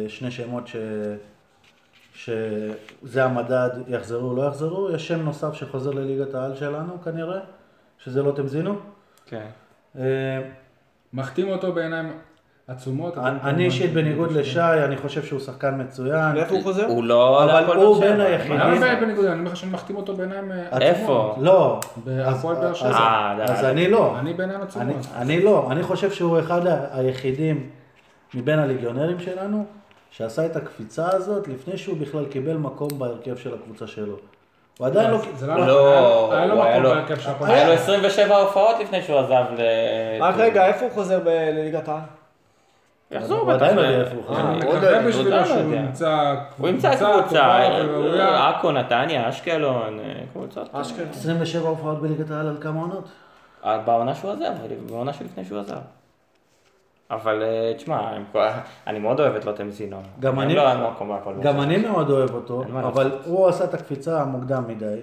Speaker 5: שני שמות ש... שזה המדד, יחזרו או לא יחזרו. יש שם נוסף שחוזר לליגת העל שלנו כנראה, שזה לא תמזינו.
Speaker 4: כן.
Speaker 5: אה,
Speaker 2: מחתים אותו בעיניים עצומות. אתם
Speaker 5: אני
Speaker 2: כמובן-
Speaker 5: אני אישית בניגוד לשי, אני חושב שהוא שחקן מצוין.
Speaker 3: לאיפה הוא חוזר?
Speaker 4: הוא לא
Speaker 5: אבל
Speaker 4: להפועל
Speaker 5: הוא
Speaker 4: באר שבע.
Speaker 5: בין היחידים.
Speaker 2: למה בעיה בניגוד? אני אומר לך שאני מחתים אותו בעיניים אה, עצומות.
Speaker 4: איפה?
Speaker 5: לא.
Speaker 2: בהפועל
Speaker 5: אז-
Speaker 2: באר שבע.
Speaker 5: אז-
Speaker 4: אה,
Speaker 5: אז
Speaker 4: די.
Speaker 5: אני לא.
Speaker 2: אני בעיניים
Speaker 5: אני-
Speaker 2: עצומות.
Speaker 5: אני לא. אני חושב שהוא אחד ה- היחידים מבין הליגיונרים שלנו, שעשה את הקפיצה הזאת לפני שהוא בכלל קיבל מקום בהרכב של הקבוצה שלו. הוא עדיין לא...
Speaker 2: זה
Speaker 4: לא,
Speaker 2: נכון, היה לו
Speaker 4: הוא היה
Speaker 2: מקום
Speaker 4: לו-
Speaker 2: בהרכב של הפועל.
Speaker 4: היה לו 27 הופעות לפני שהוא עזב ל...
Speaker 3: רק רגע, איפה הוא חוזר ב- לליגת העל?
Speaker 4: יחזור
Speaker 5: הוא עדיין לא
Speaker 4: בטח.
Speaker 5: יודע איפה הוא חוזר.
Speaker 2: אני
Speaker 3: עוד לא-
Speaker 2: מקווה
Speaker 4: עוד לא
Speaker 2: בשבילו שהוא
Speaker 4: אה, יודע.
Speaker 2: ימצא
Speaker 4: הוא ימצא
Speaker 2: טובה
Speaker 4: קבוצה, אה,
Speaker 2: וראויה.
Speaker 4: עכו, נתניה, אשקלון, אה, קבוצות. אה,
Speaker 3: אשכרה.
Speaker 5: 27 הופעות בליגת העל על כמה עונות?
Speaker 4: אה, בעונה שהוא עזב, בעונה שלפני שהוא עזב. אבל אה, תשמע, הם כל- אני מאוד אוהב את לוטם זינו.
Speaker 5: גם
Speaker 4: הם
Speaker 5: אני-
Speaker 4: לא היה מקום בהפועל. באר
Speaker 5: גם
Speaker 4: שבע.
Speaker 5: אני מאוד אוהב אותו,
Speaker 4: אין מה
Speaker 5: אבל הוא עשה את הקפיצה מוקדם מדי.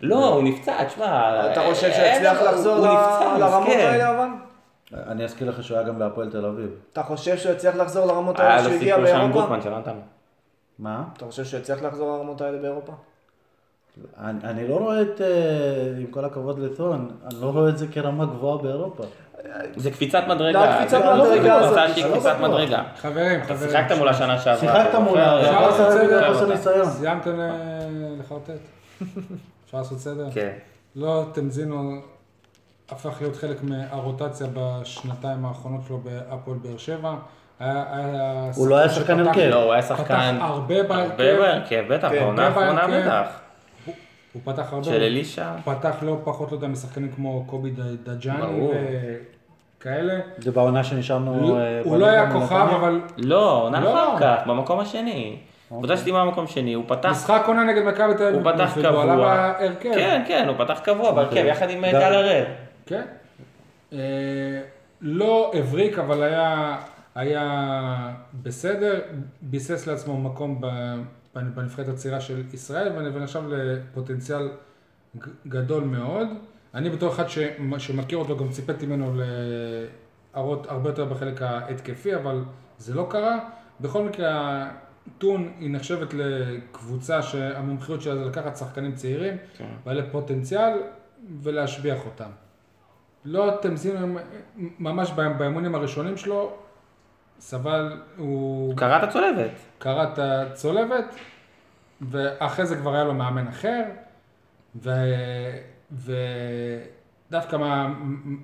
Speaker 4: לא, הוא נפצע, תשמע.
Speaker 3: אתה חושב
Speaker 4: אה, אין-
Speaker 3: שיצליח
Speaker 4: הוא-
Speaker 3: לחזור
Speaker 4: הוא
Speaker 3: ל-
Speaker 4: נפצע, כן.
Speaker 3: לרמות
Speaker 4: מסכן.
Speaker 3: האלה אבל?
Speaker 5: אני אזכיר לך שהוא היה גם בהפועל תל אביב.
Speaker 3: אתה חושב שהוא יצליח לחזור לרמות
Speaker 4: היה
Speaker 3: האלה
Speaker 4: לו
Speaker 3: שהוא הגיע
Speaker 4: סיפור שם
Speaker 3: באירופה?
Speaker 4: גוטמן שלא נתן לו.
Speaker 5: מה?
Speaker 3: אתה חושב שהוא יצליח לחזור לרמות האלה באירופה?
Speaker 5: אני, אני לא רואה את, אה, עם כל הכבוד לטון, אני לא רואה את זה כרמה גבוה באירופה.
Speaker 4: זה קפיצת מדרגה.
Speaker 3: לא, הקפיצת
Speaker 4: זה-
Speaker 5: מדרגה
Speaker 4: זה
Speaker 5: הזאת,
Speaker 4: קבוצה שהיא
Speaker 5: לא
Speaker 4: קפיצת
Speaker 5: בטוח.
Speaker 4: מדרגה.
Speaker 2: חברים,
Speaker 4: אתה
Speaker 2: חברים.
Speaker 4: שיחקת מולה שנה שעברה.
Speaker 5: שיחקת
Speaker 4: אתה
Speaker 5: מולה,
Speaker 4: זוכר?
Speaker 5: אבל
Speaker 2: אפשר
Speaker 5: חוסר
Speaker 2: לעשות
Speaker 5: בגלל
Speaker 2: סדר?
Speaker 5: חוסר ניסיון.
Speaker 2: סיימתם אה, לחרטט? אפשר לעשות סדר?
Speaker 4: כן.
Speaker 2: לא, תמזינו הפך להיות חלק מהרוטציה בשנתיים האחרונות שלו בהפועל באר שבע. היה- היה
Speaker 5: הוא לא היה
Speaker 2: שחקן
Speaker 5: שחקן
Speaker 2: שפתח-
Speaker 5: הרכב.
Speaker 4: לא, הוא היה
Speaker 2: פתח
Speaker 4: שחקן...
Speaker 2: הרבה
Speaker 4: הרבה
Speaker 2: בהרכב.
Speaker 4: בהרכב, בטח,
Speaker 3: כן,
Speaker 4: בעונה
Speaker 2: הרבה
Speaker 4: האחרונה
Speaker 2: בהרכב.
Speaker 4: בטח.
Speaker 2: הוא פתח הרבה.
Speaker 4: של אלישע.
Speaker 2: הוא פתח לא פחות, לא יודע, משחקנים כמו קובי ד- דג'אני
Speaker 4: ברור.
Speaker 2: וכאלה.
Speaker 5: זה בעונה שנשארנו... אה,
Speaker 2: הוא לא היה
Speaker 5: בליגה מול
Speaker 2: כוכב,
Speaker 5: נתניה.
Speaker 2: אבל
Speaker 4: לא, עונה
Speaker 2: לא. אוקיי.
Speaker 4: אחר כך, במקום השני. קבוצה שסיימה במקום שני, הוא פתח...
Speaker 2: משחק עונה נגד מכבי תל
Speaker 4: הוא
Speaker 2: אביב,
Speaker 4: פתח
Speaker 2: והוא
Speaker 4: קבוע.
Speaker 2: עלה בהרכב.
Speaker 4: כן, כן, הוא פתח קבוע
Speaker 2: אוקיי.
Speaker 4: בהרכב, יחד עם אה,
Speaker 5: גם-
Speaker 4: גל הראל.
Speaker 2: כן. אה, לא הבריק, אבל היה, היה בסדר, ביסס לעצמו מקום ב- בנבחרת הצעירה של ישראל, ואני- ונחשב לפוטנציאל ג- גדול מאוד. אני בתור אחד ש- שמכיר אותו, גם ציפיתי ממנו להראות הרבה יותר בחלק ההתקפי, אבל זה לא קרה. בכל מקרה, טון היא נחשבת לקבוצה שהמומחיות שלה זה לקחת שחקנים צעירים,
Speaker 4: כן.
Speaker 2: בעלי פוטנציאל, ולהשביח אותם. לא תמזין, ממש באימ- באימונים הראשונים שלו, סבל, הוא
Speaker 4: הוא קרע את הצולבת.
Speaker 2: קרע את הצולבת, ואחרי זה כבר היה לו מאמן אחר, ו... ודווקא מה...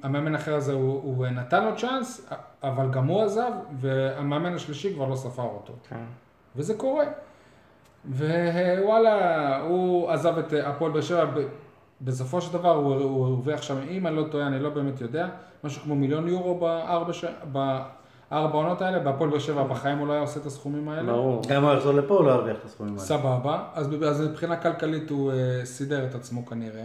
Speaker 2: המאמן האחר הזה הוא, הוא נתן לו צ'אנס, אבל גם הוא עזב, והמאמן השלישי כבר לא ספר אותו. וזה קורה. ווואלה, הוא עזב את אה, הפועל באר שבע, ב- בסופו של דבר הוא- הוא הרוויח שם, אם אני לא טועה, אני לא באמת יודע, משהו כמו מיליון יורו בארבע, ש... ארבע עונות האלה, בהפועל באר שבע בחיים הוא לא היה עושה את הסכומים האלה.
Speaker 4: ברור.
Speaker 5: גם אם הוא יחזור לפה, הוא לא ירוויח את הסכומים האלה.
Speaker 2: סבבה, אז, אז מבחינה כלכלית הוא אה, סידר את עצמו כנראה.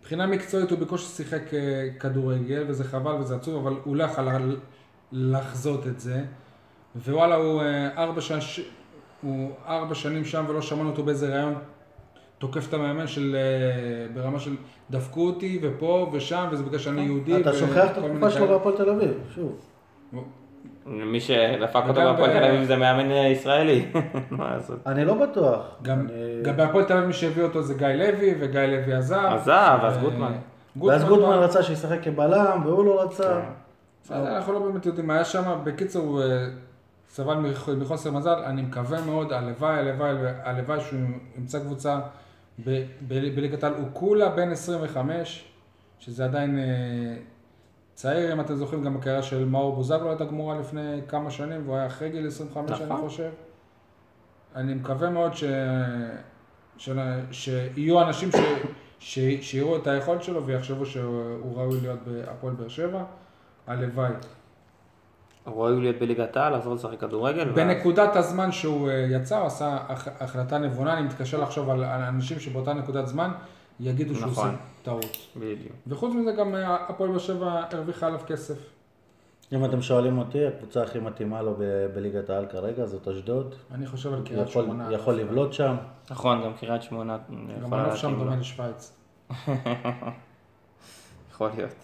Speaker 2: מבחינה מקצועית הוא בקושי שיחק אה, כדורגל, וזה חבל וזה עצוב, אבל הוא לא יכול ל- לחזות את זה. ווואלה, הוא אה, ארבע, שש... הוא ארבע שנים שם ולא שמענו אותו באיזה ראיון. תוקף את המאמן של, אה, ברמה של דפקו אותי ופה ושם, וזה בגלל שאני יהודי.
Speaker 5: אתה
Speaker 2: וכל
Speaker 5: שוכח את
Speaker 2: מיני
Speaker 5: התקופה שלו
Speaker 2: כאלה.
Speaker 5: בהפועל תל אביב, שוב.
Speaker 4: מי שדפק אותו
Speaker 2: וגם אה,
Speaker 4: בהפועל
Speaker 2: ב-
Speaker 4: תל אביב זה מאמן אה, ישראלי. (laughs) מה לעשות?
Speaker 5: אני לא בטוח.
Speaker 2: גם,
Speaker 5: אני-
Speaker 2: גם בהפועל תל אביב מי שהביא אותו זה גיא לוי, וגיא לוי עזב. אה,
Speaker 4: עזב, אז
Speaker 2: ו-
Speaker 4: גוטמן.
Speaker 5: ואז
Speaker 2: לא-
Speaker 5: גוטמן רצה שישחק כבלם, והוא לא רצה.
Speaker 2: כן. בסדר, אנחנו לא באמת יודעים מה היה שם. בקיצור, הוא אה, סבל מח- מחוסר מזל. אני מקווה מאוד, הלוואי, הלוואי, הלוואי שהוא ימצא קבוצה ב- ב- בליגת העל. הוא כולה בן 25, שזה עדיין אה, צעיר, אם אתם זוכרים, גם הקריירה של מאור בוזגלו הייתה גמורה לפני כמה שנים, והוא היה אחרי גיל 25, אני
Speaker 4: נכון.
Speaker 2: חושב. אני מקווה מאוד ש... ש... שיהיו אנשים ש... ש... שיראו את היכולת שלו ויחשבו שהוא ראוי להיות בהפועל באר שבע. הלוואי.
Speaker 4: רועי הוא להיות בליגת העל, לחזור לשחק כדורגל. ואז-
Speaker 2: בנקודת הזמן שהוא אה, יצא, הוא עשה הח- החלטה נבונה, אני מתקשה לחשוב על על אנשים שבאותה נקודת זמן יגידו שהוא
Speaker 4: נכון.
Speaker 2: עושה טעות.
Speaker 4: בדיוק.
Speaker 2: וחוץ מזה גם אה, הפועל באר שבע הרוויחה עליו כסף.
Speaker 5: אם אתם שואלים אותי, הקבוצה הכי מתאימה לו ב- בליגת העל כרגע זאת אשדוד.
Speaker 2: אני חושב על קריית
Speaker 5: יכול-
Speaker 2: שמונה.
Speaker 5: יכול לבלוט שם.
Speaker 4: נכון, גם קריית שמונה
Speaker 2: גם
Speaker 4: יכולה
Speaker 2: הנוף שם
Speaker 4: להתאים לו.
Speaker 2: דומה לשוויץ.
Speaker 4: יכול להיות.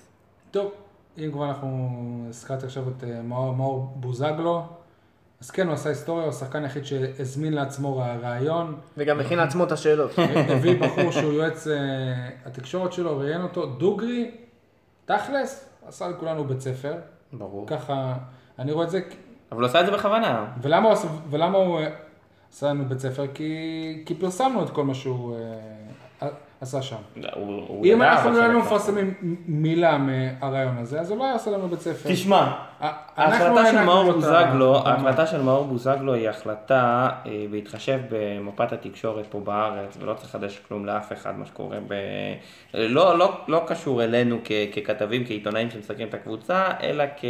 Speaker 2: טוב, אם כבר אנחנו הזכרתי עכשיו את אה, מאור מאור בוזגלו, אז כן, הוא עשה היסטוריה, הוא השחקן היחיד שהזמין לעצמו רע- רעיון.
Speaker 3: וגם הכין לעצמו את השאלות.
Speaker 2: הביא בחור שהוא יועץ אה, התקשורת שלו, ראיין אותו, דוגרי, תכלס, עשה לכולנו בית ספר.
Speaker 4: ברור.
Speaker 2: ככה, אני רואה את זה, כ-
Speaker 4: אבל הוא עשה את זה בכוונה.
Speaker 2: ולמה הוא, עשה- ולמה הוא אה, עשה לנו בית ספר? כי, כי פרסמנו את כל מה שהוא אה, עשה שם.
Speaker 4: הוא-
Speaker 2: אם
Speaker 4: הוא ידע,
Speaker 2: אנחנו
Speaker 4: אבל
Speaker 2: לא היינו
Speaker 4: שלא ככה.
Speaker 2: מפרסמים מילה מהרעיון הזה, אז הוא לא היה עושה לנו בית ספר.
Speaker 4: תשמע,
Speaker 2: ה- אנחנו
Speaker 4: ההחלטה של
Speaker 2: הענקנו לו
Speaker 4: מאור
Speaker 2: את ה-
Speaker 4: בוזגלו,
Speaker 2: הבמה.
Speaker 4: ההחלטה של מאור בוזגלו היא החלטה אה, בהתחשב במפת התקשורת פה בארץ, ולא צריך לחדש כלום לאף אחד מה שקורה ב... לא, לא, לא קשור אלינו כ, ככתבים, כעיתונאים שמסקרים את הקבוצה, אלא כ...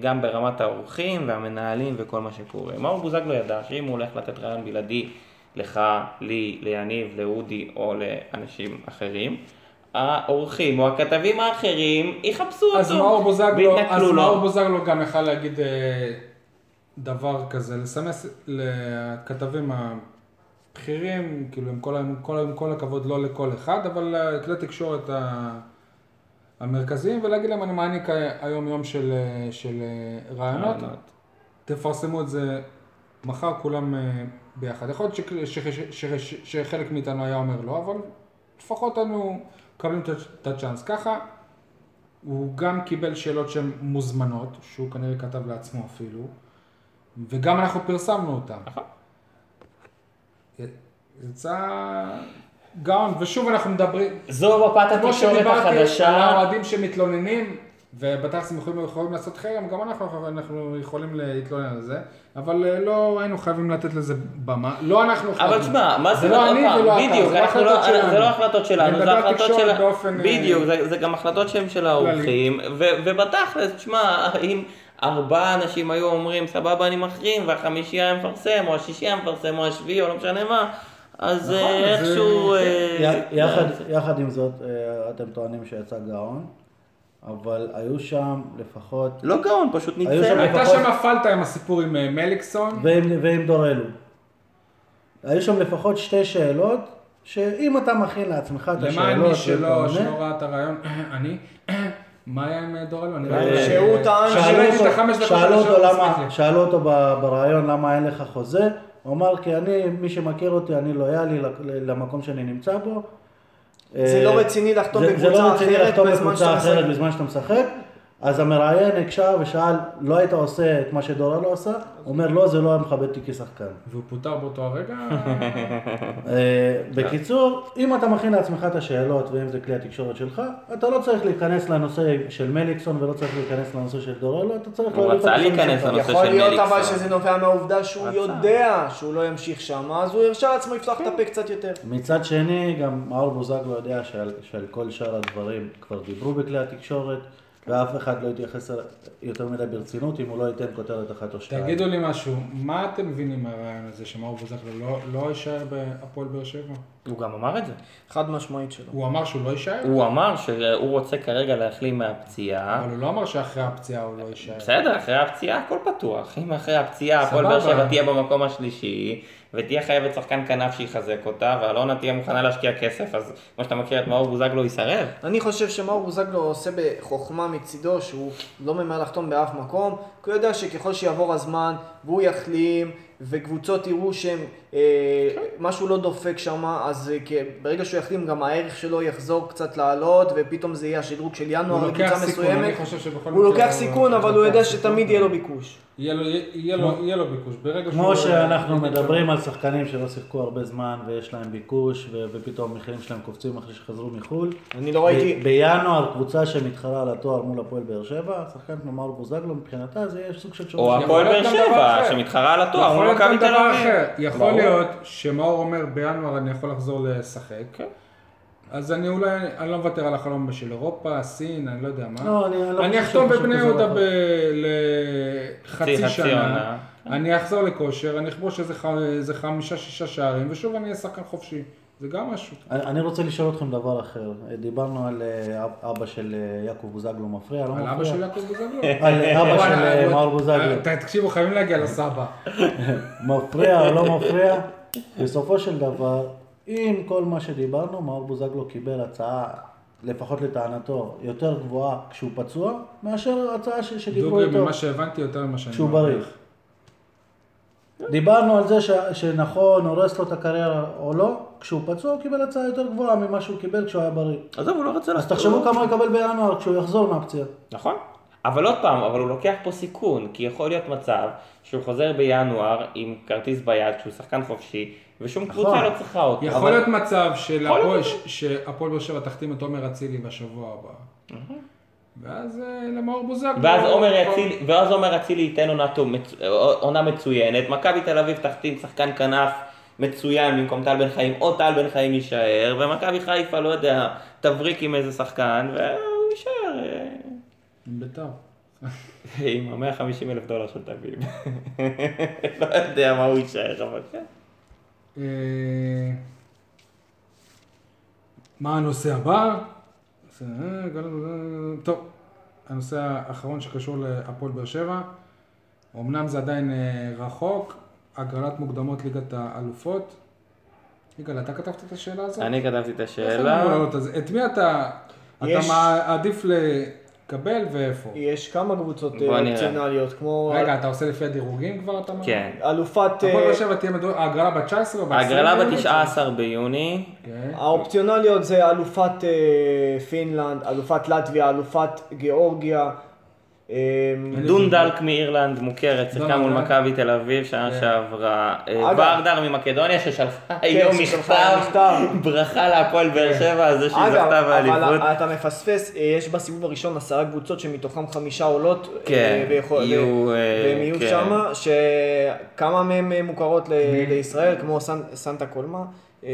Speaker 4: גם ברמת האורחים והמנהלים וכל מה שקורה. מאור בוזגלו ידע שאם הוא הולך לתת רעיון בלעדי לך, לי, ליניב, לאודי או לאנשים אחרים, האורחים או הכתבים האחרים יחפשו אותו.
Speaker 2: אז מאור בוזגלו, אז
Speaker 4: ויתנכלו לו.
Speaker 2: מאור בוזגלו גם יכל להגיד אה, דבר כזה, לסמס לכתבים הבכירים, כאילו עם כל, עם, כל, עם כל הכבוד לא לכל אחד, אבל אה, כלי תקשורת ה- המרכזיים, ולהגיד להם אני מעניק היום יום של, אה, של אה, רעיונות,
Speaker 4: רעיונות.
Speaker 2: תפרסמו את זה מחר כולם אה, ביחד. יכול להיות שכ- ש- ש- ש- שחלק מאיתנו היה אומר לא, אבל לפחות אנו מקבלים את ה- את הצ'אנס. ככה, הוא גם קיבל שאלות שהן מוזמנות, שהוא כנראה כתב לעצמו אפילו, וגם אנחנו פרסמנו אותן. יצא גאון, ושוב אנחנו מדברים,
Speaker 4: זו מפת
Speaker 2: כמו
Speaker 4: התקשורת
Speaker 2: שדיברתי על
Speaker 4: החדשה.
Speaker 2: האוהדים שמתלוננים, ובתכלס הם יכולים, יכולים לעשות חרם, גם אנחנו, אנחנו יכולים להתלונן על זה, אבל אה, לא היינו חייבים לתת לזה במה, לא אנחנו
Speaker 4: אבל תשמע, מה
Speaker 2: זה
Speaker 4: זה
Speaker 2: לא
Speaker 4: עוד
Speaker 2: אני
Speaker 4: פעם,
Speaker 2: ולא אתה,
Speaker 4: בדיוק,
Speaker 2: זה לא
Speaker 4: אנחנו
Speaker 2: החלטות שלנו.
Speaker 4: לא- זה
Speaker 2: אני
Speaker 4: לא החלטות
Speaker 2: מדבר
Speaker 4: שלנו, זה
Speaker 2: על
Speaker 4: החלטות
Speaker 2: תקשורת
Speaker 4: של...
Speaker 2: באופן, אה,
Speaker 4: בדיוק, זה- זה גם החלטות שהן של האורחים, ו- ובתכלס, תשמע, אם ארבעה אנשים היו אומרים, סבבה, אני מחרים, והחמישייה היה מפרסם, או השישייה מפרסם, או השביעי, או לא משנה מה, אז אה,
Speaker 2: נכון, אז,
Speaker 4: איכשהו...
Speaker 2: אה,
Speaker 4: אה,
Speaker 5: י- יחד, יחד עם זאת, אה, אתם טוענים שיצא גאון, אבל היו שם לפחות,
Speaker 4: לא גאון, פשוט
Speaker 5: היו שם-
Speaker 4: ניצל.
Speaker 2: הייתה
Speaker 5: לפחות-
Speaker 2: שם פלטה עם הסיפור עם אה, מליקסון,
Speaker 5: ועם, ועם דורלו, היו שם לפחות שתי שאלות, שאם אתה מכין לעצמך את השאלות,
Speaker 2: למען מי
Speaker 5: ואתה
Speaker 2: שלא
Speaker 5: עונה,
Speaker 2: שלא ראה את הרעיון, (clears throat) אני, מה היה עם אה, דורלו? אני
Speaker 5: אה,
Speaker 2: ראיתי
Speaker 3: שהוא טען
Speaker 2: שאני
Speaker 5: שאלו
Speaker 2: ראיתי את
Speaker 5: אותו-
Speaker 2: החמש דקות
Speaker 5: שאלו
Speaker 2: הראשונות,
Speaker 5: אותו
Speaker 2: מספיק
Speaker 5: למה,
Speaker 2: לי.
Speaker 5: שאלו אותו ב- ברעיון למה אין לך חוזה, הוא אמר כי אני, מי שמכיר אותי, אני לויאלי לק- למקום שאני נמצא בו.
Speaker 3: זה
Speaker 5: אה,
Speaker 3: לא רציני לחתום
Speaker 5: זה- זה לא
Speaker 3: בקבוצה
Speaker 5: רציני
Speaker 3: אחרת
Speaker 5: לחתום
Speaker 3: בזמן שאתה
Speaker 5: בקבוצה
Speaker 3: משחק.
Speaker 5: אחרת בזמן שאתה משחק. אז המראיין הקשה ושאל, לא היית עושה את מה שדורה לא עשה? הוא אומר, לא, זה לא היה מכבד אותי כשחקן.
Speaker 2: והוא פוטר באותו הרגע,
Speaker 5: (laughs) אה, בקיצור, אם אתה מכין לעצמך את השאלות ואם זה כלי התקשורת שלך, אתה לא צריך להיכנס לנושא של מליקסון ולא צריך להיכנס לנושא של דורלו, אתה צריך
Speaker 4: הוא
Speaker 5: להוריד את
Speaker 4: רצה
Speaker 5: הנושא
Speaker 4: להיכנס
Speaker 5: שלך.
Speaker 4: לנושא.
Speaker 3: יכול
Speaker 4: של
Speaker 3: להיות
Speaker 4: מליקסון.
Speaker 3: אבל שזה נובע מהעובדה שהוא
Speaker 4: רצה.
Speaker 3: יודע שהוא לא ימשיך שם, אז הוא הרשה לעצמו לפתוח
Speaker 5: כן.
Speaker 3: את הפה קצת יותר.
Speaker 5: מצד שני, גם מאור בוזגלו יודע שעל, שעל כל שאר הדברים כבר דיברו בכלי התקשורת, ואף אחד לא יתייחס אל- יותר מדי ברצינות אם הוא לא ייתן כותרת אחת או שתיים.
Speaker 2: תגידו לי משהו, מה אתם מבינים מהרעיון הזה שמאור בוזגלו לא- לא יישאר בהפועל באר שבע?
Speaker 4: הוא גם אמר את זה.
Speaker 3: חד משמעית שלא.
Speaker 2: הוא אמר שהוא לא יישאר?
Speaker 4: הוא אמר שהוא רוצה כרגע להחלים מהפציעה.
Speaker 2: אבל הוא לא אמר שאחרי הפציעה הוא לא יישאר.
Speaker 4: בסדר, אחרי הפציעה הכל פתוח. אם אחרי הפציעה הפועל באר
Speaker 2: סבבה.
Speaker 4: שבע תהיה במקום השלישי, ותהיה חייבת שחקן כנף שיחזק אותה, ואלונה תהיה מוכנה להשקיע כסף, אז כמו שאתה מכיר את מאור בוזגלו יסרב.
Speaker 3: אני חושב שמאור בוזגלו עושה בחוכמה מצידו שהוא לא ממהר לחתום באף מקום, כי הוא יודע שככל שיעבור הזמן והוא יחלים וקבוצות יראו שהם, אה,
Speaker 2: כן.
Speaker 3: משהו לא דופק שם, אז אה, כ- ברגע שהוא יחלים גם הערך שלו יחזור קצת לעלות ופתאום זה יהיה השדרוג של ינואר
Speaker 2: הוא לוקח
Speaker 3: לקבוצה
Speaker 2: סיכון,
Speaker 3: מסוימת.
Speaker 2: אני חושב שבכל
Speaker 3: הוא לוקח
Speaker 2: מקרה-
Speaker 3: סיכון אבל הוא יודע שתמיד יהיה לו ביקוש.
Speaker 2: יהיה לו- יהיה לו- יהיה לו ביקוש. ברגע לא
Speaker 5: כמו שאנחנו מדברים על שחקנים שלא שיחקו הרבה זמן ויש להם ביקוש ו- ופתאום המחירים שלהם קופצים אחרי שחזרו מחו"ל.
Speaker 3: אני לא ראיתי,
Speaker 5: ב- בינואר קבוצה שמתחרה על התואר מול הפועל באר שבע, שחקן כמו מאור בוזגלו מבחינתה זה יהיה סוג של
Speaker 4: או
Speaker 5: שובר.
Speaker 2: יכול
Speaker 4: הפועל באר
Speaker 2: להיות גם דבר
Speaker 4: שבע,
Speaker 2: אחר.
Speaker 4: שמתחרה על התואר,
Speaker 2: יכול
Speaker 4: מול
Speaker 2: להיות
Speaker 4: נכון, מכבי
Speaker 2: גם
Speaker 4: תל
Speaker 2: דבר
Speaker 4: אביב.
Speaker 2: אחר. יכול
Speaker 4: ברור.
Speaker 2: להיות שמאור אומר בינואר אני יכול לחזור לשחק.
Speaker 4: כן.
Speaker 2: אז אני אולי, אני לא מוותר על החלום של אירופה, סין, אני לא יודע מה.
Speaker 5: לא, אני- אני לא
Speaker 2: אני
Speaker 5: חושב
Speaker 2: אחתום
Speaker 5: שחשוב
Speaker 2: בבני
Speaker 5: כזה
Speaker 2: יהודה
Speaker 5: דבר.
Speaker 2: ב- לחצי
Speaker 4: חצי
Speaker 2: שנה.
Speaker 4: עונה.
Speaker 2: אני אחזור לכושר, אני אכבוש איזה ח- איזה חמישה-שישה שערים, ושוב אני אהיה שחקן חופשי. זה גם משהו.
Speaker 5: אני- אני רוצה לשאול אתכם דבר אחר. דיברנו על אה, אב- אבא של אה, יעקב בוזגלו מפריע, לא
Speaker 2: על
Speaker 5: מפריע?
Speaker 2: אבא של יעקב
Speaker 5: (laughs)
Speaker 2: בוזגלו.
Speaker 5: על אבא של אה, מאור בוזגלו.
Speaker 2: ת- תקשיבו, חייבים להגיע לסבא.
Speaker 5: מפריע או לא מפריע, בסופו של דבר, עם כל מה שדיברנו, מאור בוזגלו קיבל הצעה, לפחות לטענתו, יותר גבוהה כשהוא פצוע, מאשר הצעה ש- שדיברו
Speaker 2: דוגרי,
Speaker 5: איתו
Speaker 2: ממה שהבנתי יותר ממה שאני...
Speaker 5: כשהוא
Speaker 2: מאמין.
Speaker 5: בריא. דיברנו על זה ש, שנכון, הורס לו את הקריירה או לא, כשהוא פצוע הוא קיבל הצעה יותר גבוהה ממה שהוא קיבל כשהוא היה בריא.
Speaker 4: עזוב, הוא לא רוצה
Speaker 5: אז תחשבו כמה הוא יקבל בינואר כשהוא יחזור מהפציעה.
Speaker 4: נכון. אבל עוד פעם, אבל הוא לוקח פה סיכון, כי יכול להיות מצב שהוא חוזר בינואר עם כרטיס ביד, שהוא שחקן חופשי, ושום קבוצה לא צריכה אותו.
Speaker 2: נכון. יכול
Speaker 4: אבל-
Speaker 2: להיות מצב של
Speaker 4: יכול
Speaker 2: הפועל-
Speaker 4: להיות.
Speaker 2: ש- שהפועל באר שבע תחתים את עומר אצילי בשבוע הבא. ואז אה, למאור בוזגלו.
Speaker 4: נכון. ואז עומר יציל, ואז עומר אצילי ייתן עונה, טוב, מצ... עונה מצוינת, מכבי תל אביב תחתים שחקן כנף מצוין במקום טל בן חיים, או טל בן חיים יישאר, ומכבי חיפה, לא יודע, תבריק עם איזה שחקן, והוא יישאר אה,
Speaker 2: עם בית"ר.
Speaker 4: עם המאה חמישים אלף דולר של תביב. (laughs) לא יודע מה הוא יישאר, אבל כן.
Speaker 2: אה, מה הנושא הבא? זה- אה, גל- טוב, הנושא האחרון שקשור להפועל באר שבע. אמנם זה עדיין אה, רחוק, הגרלת מוקדמות ליגת האלופות. יגאל, אתה כתבת את השאלה הזאת?
Speaker 4: אני כתבתי את
Speaker 2: איך אני אמור
Speaker 4: השאלה.
Speaker 2: לענות על זה? את מי אתה, אתה
Speaker 3: יש-
Speaker 2: מעדיף לקבל ואיפה?
Speaker 3: יש כמה קבוצות
Speaker 4: בוא
Speaker 3: אה,
Speaker 4: נראה.
Speaker 3: אופציונליות, כמו
Speaker 2: רגע, אתה עושה לפי הדירוגים כבר, אתה אמר?
Speaker 4: כן.
Speaker 3: אלופת...
Speaker 2: הפועל
Speaker 3: אה,
Speaker 2: באר שבע תהיה מדור... ההגרלה ב-19 או ב-20?
Speaker 4: ההגרלה ב-19 ביוני,
Speaker 2: כן.
Speaker 3: האופציונליות זה אלופת אה, פינלנד, אלופת לטביה, אלופת גיאורגיה. אה,
Speaker 4: דונדלק מאירלנד מוכרת,
Speaker 2: לא,
Speaker 4: שיחקה מול
Speaker 2: דונלד.
Speaker 4: מכבי תל אביב שנה
Speaker 2: כן.
Speaker 4: שעברה. אה,
Speaker 3: אגב. כן,
Speaker 4: ברדר ממקדוניה ששלחה היום
Speaker 3: ששלחה
Speaker 4: מכתב
Speaker 3: מכתב.
Speaker 4: ברכה להפועל
Speaker 2: כן.
Speaker 4: באר שבע על זה שהיא
Speaker 3: אגב,
Speaker 4: זכתה באליפות.
Speaker 3: אבל אה, אתה מפספס, אה, יש בסיבוב הראשון עשרה קבוצות שמתוכן חמישה עולות. אה,
Speaker 4: כן,
Speaker 3: ויכול-
Speaker 4: יהיו,
Speaker 3: ו-
Speaker 4: אה,
Speaker 3: והם יהיו
Speaker 4: כן.
Speaker 3: שמה, שכמה מהן אה, מוכרות ל- לישראל, כמו סנ- סנטה קולמה, אה,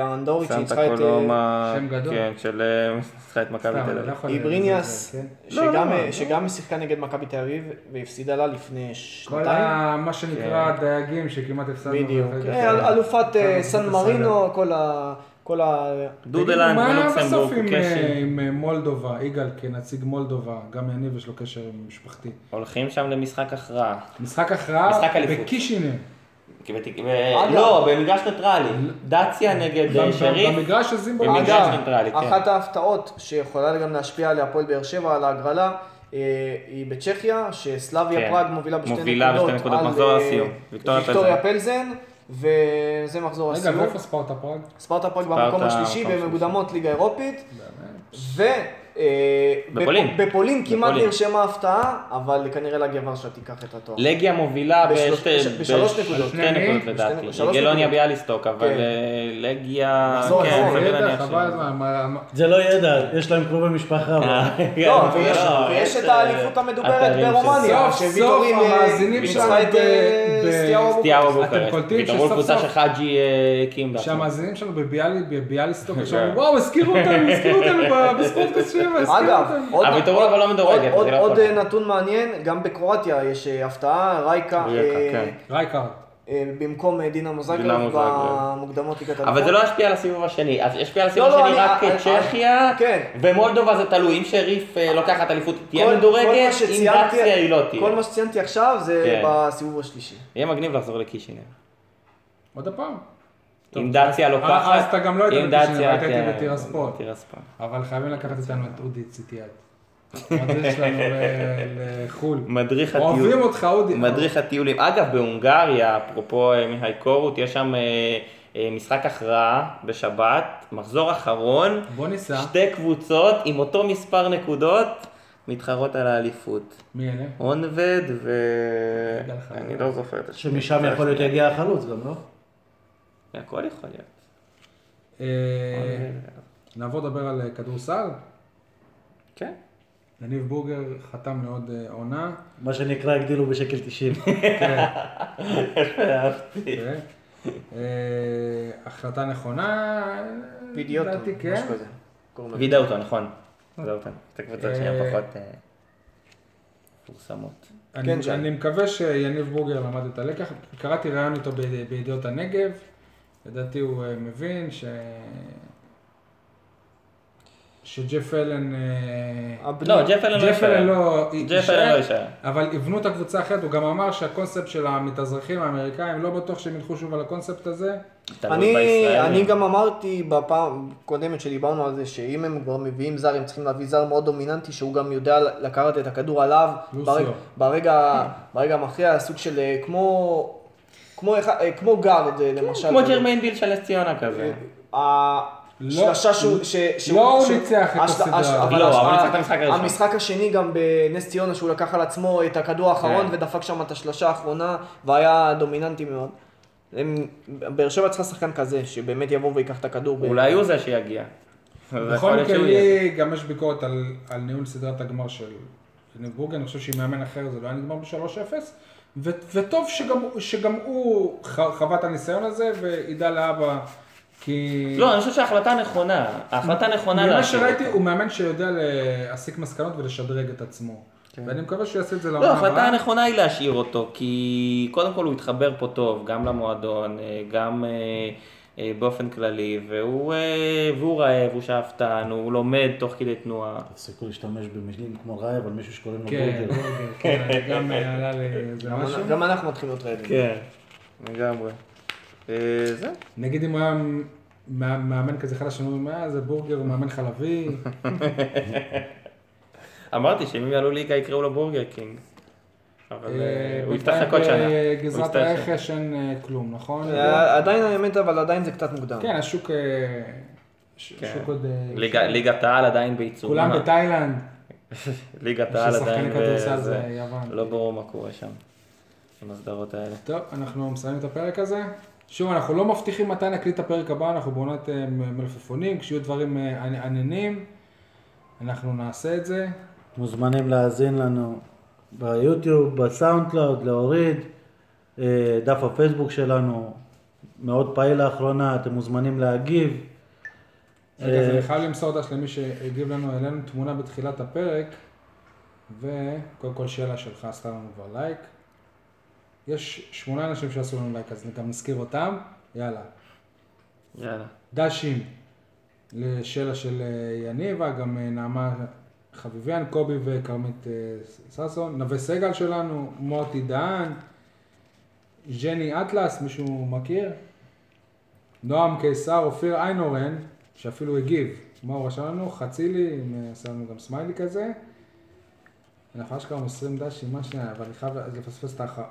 Speaker 3: האנדורית שניצחה
Speaker 4: סנטה
Speaker 3: את... אה,
Speaker 4: קולומה,
Speaker 2: שם גדול.
Speaker 4: כן, של אה, ניצחה את מכבי
Speaker 2: סתם,
Speaker 4: תל
Speaker 2: אני לא
Speaker 4: אביב.
Speaker 2: יכול
Speaker 3: איבריניאס,
Speaker 2: לזלזל, כן?
Speaker 4: לא,
Speaker 3: שגם, אה, שגם שיחקה נגד מכבי תל אביב והפסידה לה לפני
Speaker 2: כל
Speaker 3: שנתיים.
Speaker 2: ה... מה שנקרא
Speaker 4: כן.
Speaker 2: הדייגים שכמעט הפסדנו.
Speaker 3: בדיוק.
Speaker 2: ואחרי זה-
Speaker 3: אה, אל- אלופת אה,
Speaker 2: כן,
Speaker 3: סן
Speaker 2: בסדר.
Speaker 3: מרינו, כל ה... כל ה...
Speaker 4: דודלנד
Speaker 2: מה בסוף
Speaker 4: ולוקסמבורג,
Speaker 2: עם, אה,
Speaker 4: קשי.
Speaker 2: עם אה, מולדובה, יגאל כנציג מולדובה, גם יניב יש לו קשר עם משפחתי.
Speaker 4: הולכים שם למשחק הכרעה.
Speaker 2: משחק הכרעה
Speaker 4: משחק אליפות.
Speaker 2: בקישינב.
Speaker 4: כי בת- ו- לא, במגרש ניטרלי. דציה נגד אה, שריף.
Speaker 2: במגרש הזה
Speaker 4: במגרש
Speaker 2: זימבורג.
Speaker 3: אגב,
Speaker 4: ניטרלי, כן.
Speaker 3: אחת ההפתעות שיכולה גם להשפיע על הפועל באר שבע, על ההגרלה, אה, היא בצ'כיה, שסלאביה
Speaker 4: כן.
Speaker 3: פראג מובילה בשתי נקודות.
Speaker 4: מובילה בשתי נקודות,
Speaker 3: על,
Speaker 4: מחזור
Speaker 3: אה,
Speaker 4: הסיום. ויקטוריה
Speaker 3: ויקטוריה פלזן, וזה מחזור
Speaker 2: רגע,
Speaker 3: הסיום.
Speaker 2: ואיפה ספרטה פראג?
Speaker 3: ספרטה פראג
Speaker 4: ספרטה,
Speaker 3: במקום השלישי,
Speaker 4: מקום
Speaker 3: ומקודמות ליגה אירופית. ו... אה,
Speaker 4: בפולין.
Speaker 3: בפולין כמעט
Speaker 4: בפולין.
Speaker 3: נרשמה הפתעה, אבל כנראה לגיא ורשה תיקח את התואר.
Speaker 4: לגיה מובילה
Speaker 3: בשלוש-
Speaker 4: בשתי-
Speaker 3: בש- בשלוש
Speaker 4: בש-
Speaker 3: נקודות.
Speaker 4: שתי נקודות לדעתי.
Speaker 3: בשתי- שלוש
Speaker 4: גלוניה
Speaker 3: נקודות.
Speaker 4: ביאליסטוק, אבל
Speaker 3: כן.
Speaker 4: אה, לגיה...
Speaker 3: מחזור
Speaker 4: כן,
Speaker 3: אחרון,
Speaker 4: סביר
Speaker 2: ידע,
Speaker 4: להניח
Speaker 2: לא, חבל
Speaker 4: (laughs) ש-
Speaker 2: הזמן, מה- מה-
Speaker 5: זה לא ידע, יש להם קרובי משפחה. אבל-
Speaker 4: כן,
Speaker 3: לא,
Speaker 4: אה,
Speaker 3: ויש- ויש את האליפות המדוברת ברומניה.
Speaker 2: סוף
Speaker 3: שוויטורים,
Speaker 2: סוף
Speaker 3: אה,
Speaker 2: המאזינים
Speaker 3: ניצחה
Speaker 2: שלנו
Speaker 3: את, אה, סטיהו
Speaker 4: סטיהו
Speaker 2: אתם
Speaker 4: בוקרשט,
Speaker 2: קולטים
Speaker 4: פתרון
Speaker 2: שסוף
Speaker 4: קבוצה
Speaker 2: סוף,
Speaker 4: שחאג'י אה, הקים בעצמו.
Speaker 2: שהמאזינים שלנו בביאלי- בביאליסטוק עכשיו,
Speaker 4: כן.
Speaker 2: וואו, הזכירו אותנו, הזכירו אותנו ב- בספורטקאסט 7, הזכירו
Speaker 3: אגב,
Speaker 2: אותנו.
Speaker 3: עוד-
Speaker 4: הוויטורול אבל לא מדורג,
Speaker 3: עוד-
Speaker 4: זה לא
Speaker 3: עוד-
Speaker 4: יכול.
Speaker 3: עוד אה, נתון מעניין, גם בקרואטיה יש אה, הפתעה, רייקה,
Speaker 4: רייקה,
Speaker 3: אה,
Speaker 4: כן.
Speaker 2: רייקר,
Speaker 3: אה, במקום אה, דינה זאגרב
Speaker 4: דינמו זאגרב.
Speaker 3: במוקדמות ליגת האלופות.
Speaker 4: אבל זה לא ישפיע על הסיבוב השני, אז ישפיע על הסיבוב
Speaker 3: לא, לא,
Speaker 4: השני
Speaker 3: אני-
Speaker 4: רק
Speaker 3: אני-
Speaker 4: צ'כיה,
Speaker 3: כן.
Speaker 4: ומולדובה זה תלוי, אם שריף אה, לוקחת אליפות היא
Speaker 3: כל-
Speaker 4: תהיה
Speaker 3: כל מה
Speaker 4: מדורגת, אם
Speaker 3: שציינתי-
Speaker 4: דאציה היא לא תהיה.
Speaker 3: כל מה שציינתי עכשיו זה
Speaker 4: כן.
Speaker 3: בסיבוב השלישי.
Speaker 4: יהיה מגניב לחזור לקישינב.
Speaker 2: עוד פעם. טוב,
Speaker 4: אם דאציה
Speaker 2: אז-
Speaker 4: לוקחת,
Speaker 2: אז אתה גם לא היית
Speaker 4: אם
Speaker 2: בקישינב,
Speaker 4: דאציה,
Speaker 2: היית
Speaker 4: כן,
Speaker 2: בטירספול.
Speaker 4: בטירספול.
Speaker 2: אבל חייבים לקחת איתנו את אודי ציטיאד. המדריך שלנו ל- לחו"ל.
Speaker 4: מדריך הטיול.
Speaker 2: אוהבים אותך, אודי.
Speaker 4: מדריך הטיולים. אגב, בהונגריה, אפרופו אה, מיהי קורות, יש שם אה, אה, משחק הכרעה בשבת, מחזור אחרון,
Speaker 2: בוא ניסע.
Speaker 4: שתי קבוצות עם אותו מספר נקודות מתחרות על האליפות.
Speaker 2: מי אלה?
Speaker 4: אונבד ו...
Speaker 2: יגאל חלוץ.
Speaker 4: אני לא זוכר את השם.
Speaker 5: שמשם יכול להיות יגיע החלוץ גם, לא?
Speaker 4: הכל יכול להיות.
Speaker 2: אה, נעבור לדבר על אה, כדורסל.
Speaker 4: כן.
Speaker 2: יניב בורגר חתם לעוד אה, עונה.
Speaker 5: מה שנקרא, הגדילו בשקל (laughs) 90.
Speaker 2: כן. אה, החלטה נכונה.
Speaker 3: וידיוטו,
Speaker 2: לדעתי, כן.
Speaker 3: משהו כזה. קוראים לזה.
Speaker 4: וידאוטו, נכון. וידאוטו. את הקבוצות שהן
Speaker 2: אוקיי. אה,
Speaker 4: פחות אה, מפורסמות.
Speaker 2: אני,
Speaker 3: כן,
Speaker 2: כן,
Speaker 3: שי.
Speaker 2: אני מקווה שיניב בורגר למד את הלקח. קראתי ראיון איתו ב- בידיעות הנגב. לדעתי הוא אה, מבין ש... שג'ף אלן... אה,
Speaker 3: הבני-
Speaker 4: לא, ג'ף אלן לא
Speaker 2: ג'ף אלן לא
Speaker 4: ג'ף אלן לא יישאר.
Speaker 2: אבל יבנו את הקבוצה אחרת. הוא גם אמר שהקונספט של המתאזרחים האמריקאים, לא בטוח שהם ילכו שוב על הקונספט הזה.
Speaker 4: תלוי
Speaker 3: אני,
Speaker 4: בישראלים.
Speaker 3: אני גם אמרתי בפעם הקודמת שדיברנו על זה, שאם הם כבר מביאים זר, הם צריכים להביא זר מאוד דומיננטי, שהוא גם יודע לקחת את הכדור עליו.
Speaker 2: לוסיו.
Speaker 3: ברג- ברגע, ברגע המכריע, סוג של אה, כמו, כמו, אחד- אה, כמו גארד, אה, למשל.
Speaker 4: כמו ג'רמיין ביל של נס ציונה כזה.
Speaker 2: אה,
Speaker 3: השלשה שהוא... ש- שהוא-
Speaker 2: לא הוא
Speaker 3: שהוא-
Speaker 2: ניצח את
Speaker 3: השל-
Speaker 2: הסדרה.
Speaker 3: הש-
Speaker 2: לא,
Speaker 4: אבל הוא
Speaker 3: הש-
Speaker 4: ניצח את המשחק הראשון.
Speaker 3: המשחק השני גם בנס ציונה, שהוא לקח על עצמו את הכדור האחרון
Speaker 4: כן.
Speaker 3: ודפק שם את השלשה האחרונה, והיה דומיננטי מאוד. הם- באר שבע צריכה שחקן כזה, שבאמת יבוא ויקח את הכדור. ב-
Speaker 4: אולי הוא לא זה שיגיע. זה יכול
Speaker 2: בכל
Speaker 4: להיות
Speaker 2: מקרה,
Speaker 4: שהוא יהיה.
Speaker 2: לי גם יש ביקורת על, על ניהול סדרת הגמר של יניב בורגר, אני חושב שאם מאמן אחר זה לא היה נגמר ב-3-0, ו- וטוב שגם, שגם הוא ח- חווה את הניסיון הזה וידע לאבא, כי...
Speaker 4: לא, אני חושב שההחלטה נכונה. ההחלטה נכונה
Speaker 2: ממה
Speaker 4: להשאיר
Speaker 2: שראיתי,
Speaker 4: אותו.
Speaker 2: הוא מאמן שיודע להסיק מסקנות ולשדרג את עצמו. ואני מקווה שהוא יעשה את זה
Speaker 4: לא,
Speaker 2: לעונה
Speaker 4: ההחלטה
Speaker 2: הבאה.
Speaker 4: הנכונה היא להשאיר אותו, כי קודם כל הוא התחבר פה טוב, גם למועדון, אה, גם אה, אה, באופן כללי, והוא אה, והוא רעב, הוא שאפתן, הוא לומד תוך כדי תנועה.
Speaker 5: תפסיקו להשתמש במילים כמו רעב על מישהו שקוראים לו
Speaker 2: כן,
Speaker 5: בורגר.
Speaker 2: בורגר, כן, גם עלה לי איזה
Speaker 3: גם-
Speaker 2: משהו.
Speaker 3: גם אנחנו מתחילים להיות רעבים.
Speaker 4: כן, לגמרי. אה, זהו.
Speaker 2: נגיד אם הוא היה מא- מאמן כזה חדש, אני אומר, "אה, זה בורגר, הוא מאמן חלבי.
Speaker 4: אמרתי שאם הם יעלו ליגה יקראו לו בורגר קינג. אבל אה, הוא יפתח
Speaker 2: בינתיים אה,
Speaker 4: לכל שנה. הוא
Speaker 2: בגזרת
Speaker 4: יפתח שנה.
Speaker 2: הרכש אין אה, כלום, נכון?
Speaker 3: אה, עדיין האמת, אבל עדיין זה קצת מוקדם.
Speaker 2: כן, השוק... אה, ש-
Speaker 4: כן.
Speaker 2: שוק עוד... אה,
Speaker 4: ליגה- ליגת העל עדיין בעיצומה.
Speaker 2: כולם בתאילנד.
Speaker 4: ליגת
Speaker 2: של
Speaker 4: העל
Speaker 2: שחקני
Speaker 4: עדיין
Speaker 2: כדורסל
Speaker 4: וזה.
Speaker 2: זה יוון.
Speaker 4: לא ברור מה קורה שם, עם הסדרות האלה.
Speaker 2: טוב, אנחנו מסיימים את הפרק הזה. שוב, אנחנו לא מבטיחים מתי נקליט את הפרק הבא, אנחנו בעונת אה, מ- מלפפונים, כשיהיו דברים אה, ענ- עניינים, אנחנו נעשה את זה.
Speaker 5: מוזמנים להאזין לנו ביוטיוב, בסאונד קלאוד, להוריד. אה, דף הפייסבוק שלנו מאוד פעיל לאחרונה, אתם מוזמנים להגיב.
Speaker 2: רגע, אז אני חייב למסור דש למי שהגיב לנו, העלינו תמונה בתחילת הפרק, וקודם כל שאלה שלך עשתה לנו כבר לייק. יש שמונה אנשים שעשו לנו לייק, אז גם נזכיר אותם. יאללה.
Speaker 4: יאללה.
Speaker 2: דשים לשאלה של אה, יניבה, גם אה, נעמה חביביאן, קובי וכרמית אה, ששון, נווה סגל שלנו, מוטי דהן, ג'ני אטלס, מישהו מכיר? נועם קיסר, אופיר איינורן, שאפילו הגיב, מה הוא רשם לנו? חצילי, עם, אה, עשה לנו גם סמיילי כזה. אנחנו אשכרה מוסרים דשים, מה שנייה, אבל אני חייב לפספס את האחר.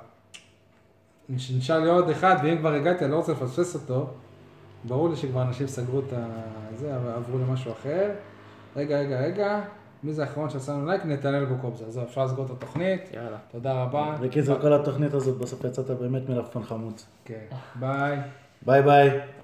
Speaker 2: נשאר לי עוד אחד, ואם כבר הגעתי, אני לא רוצה לפספס אותו. ברור לי שכבר אנשים סגרו את ה... זה, אבל עברו למשהו אחר. רגע, רגע, רגע. מי זה האחרון שעשה לנו לייק? נתנאל בוקובזר. זהו, אפשר לסגור את התוכנית.
Speaker 4: יאללה.
Speaker 2: תודה רבה.
Speaker 5: בקיצור, כל התוכנית הזאת בסוף יצאת באמת מלפפון חמוץ.
Speaker 2: כן. ביי.
Speaker 5: ביי ביי.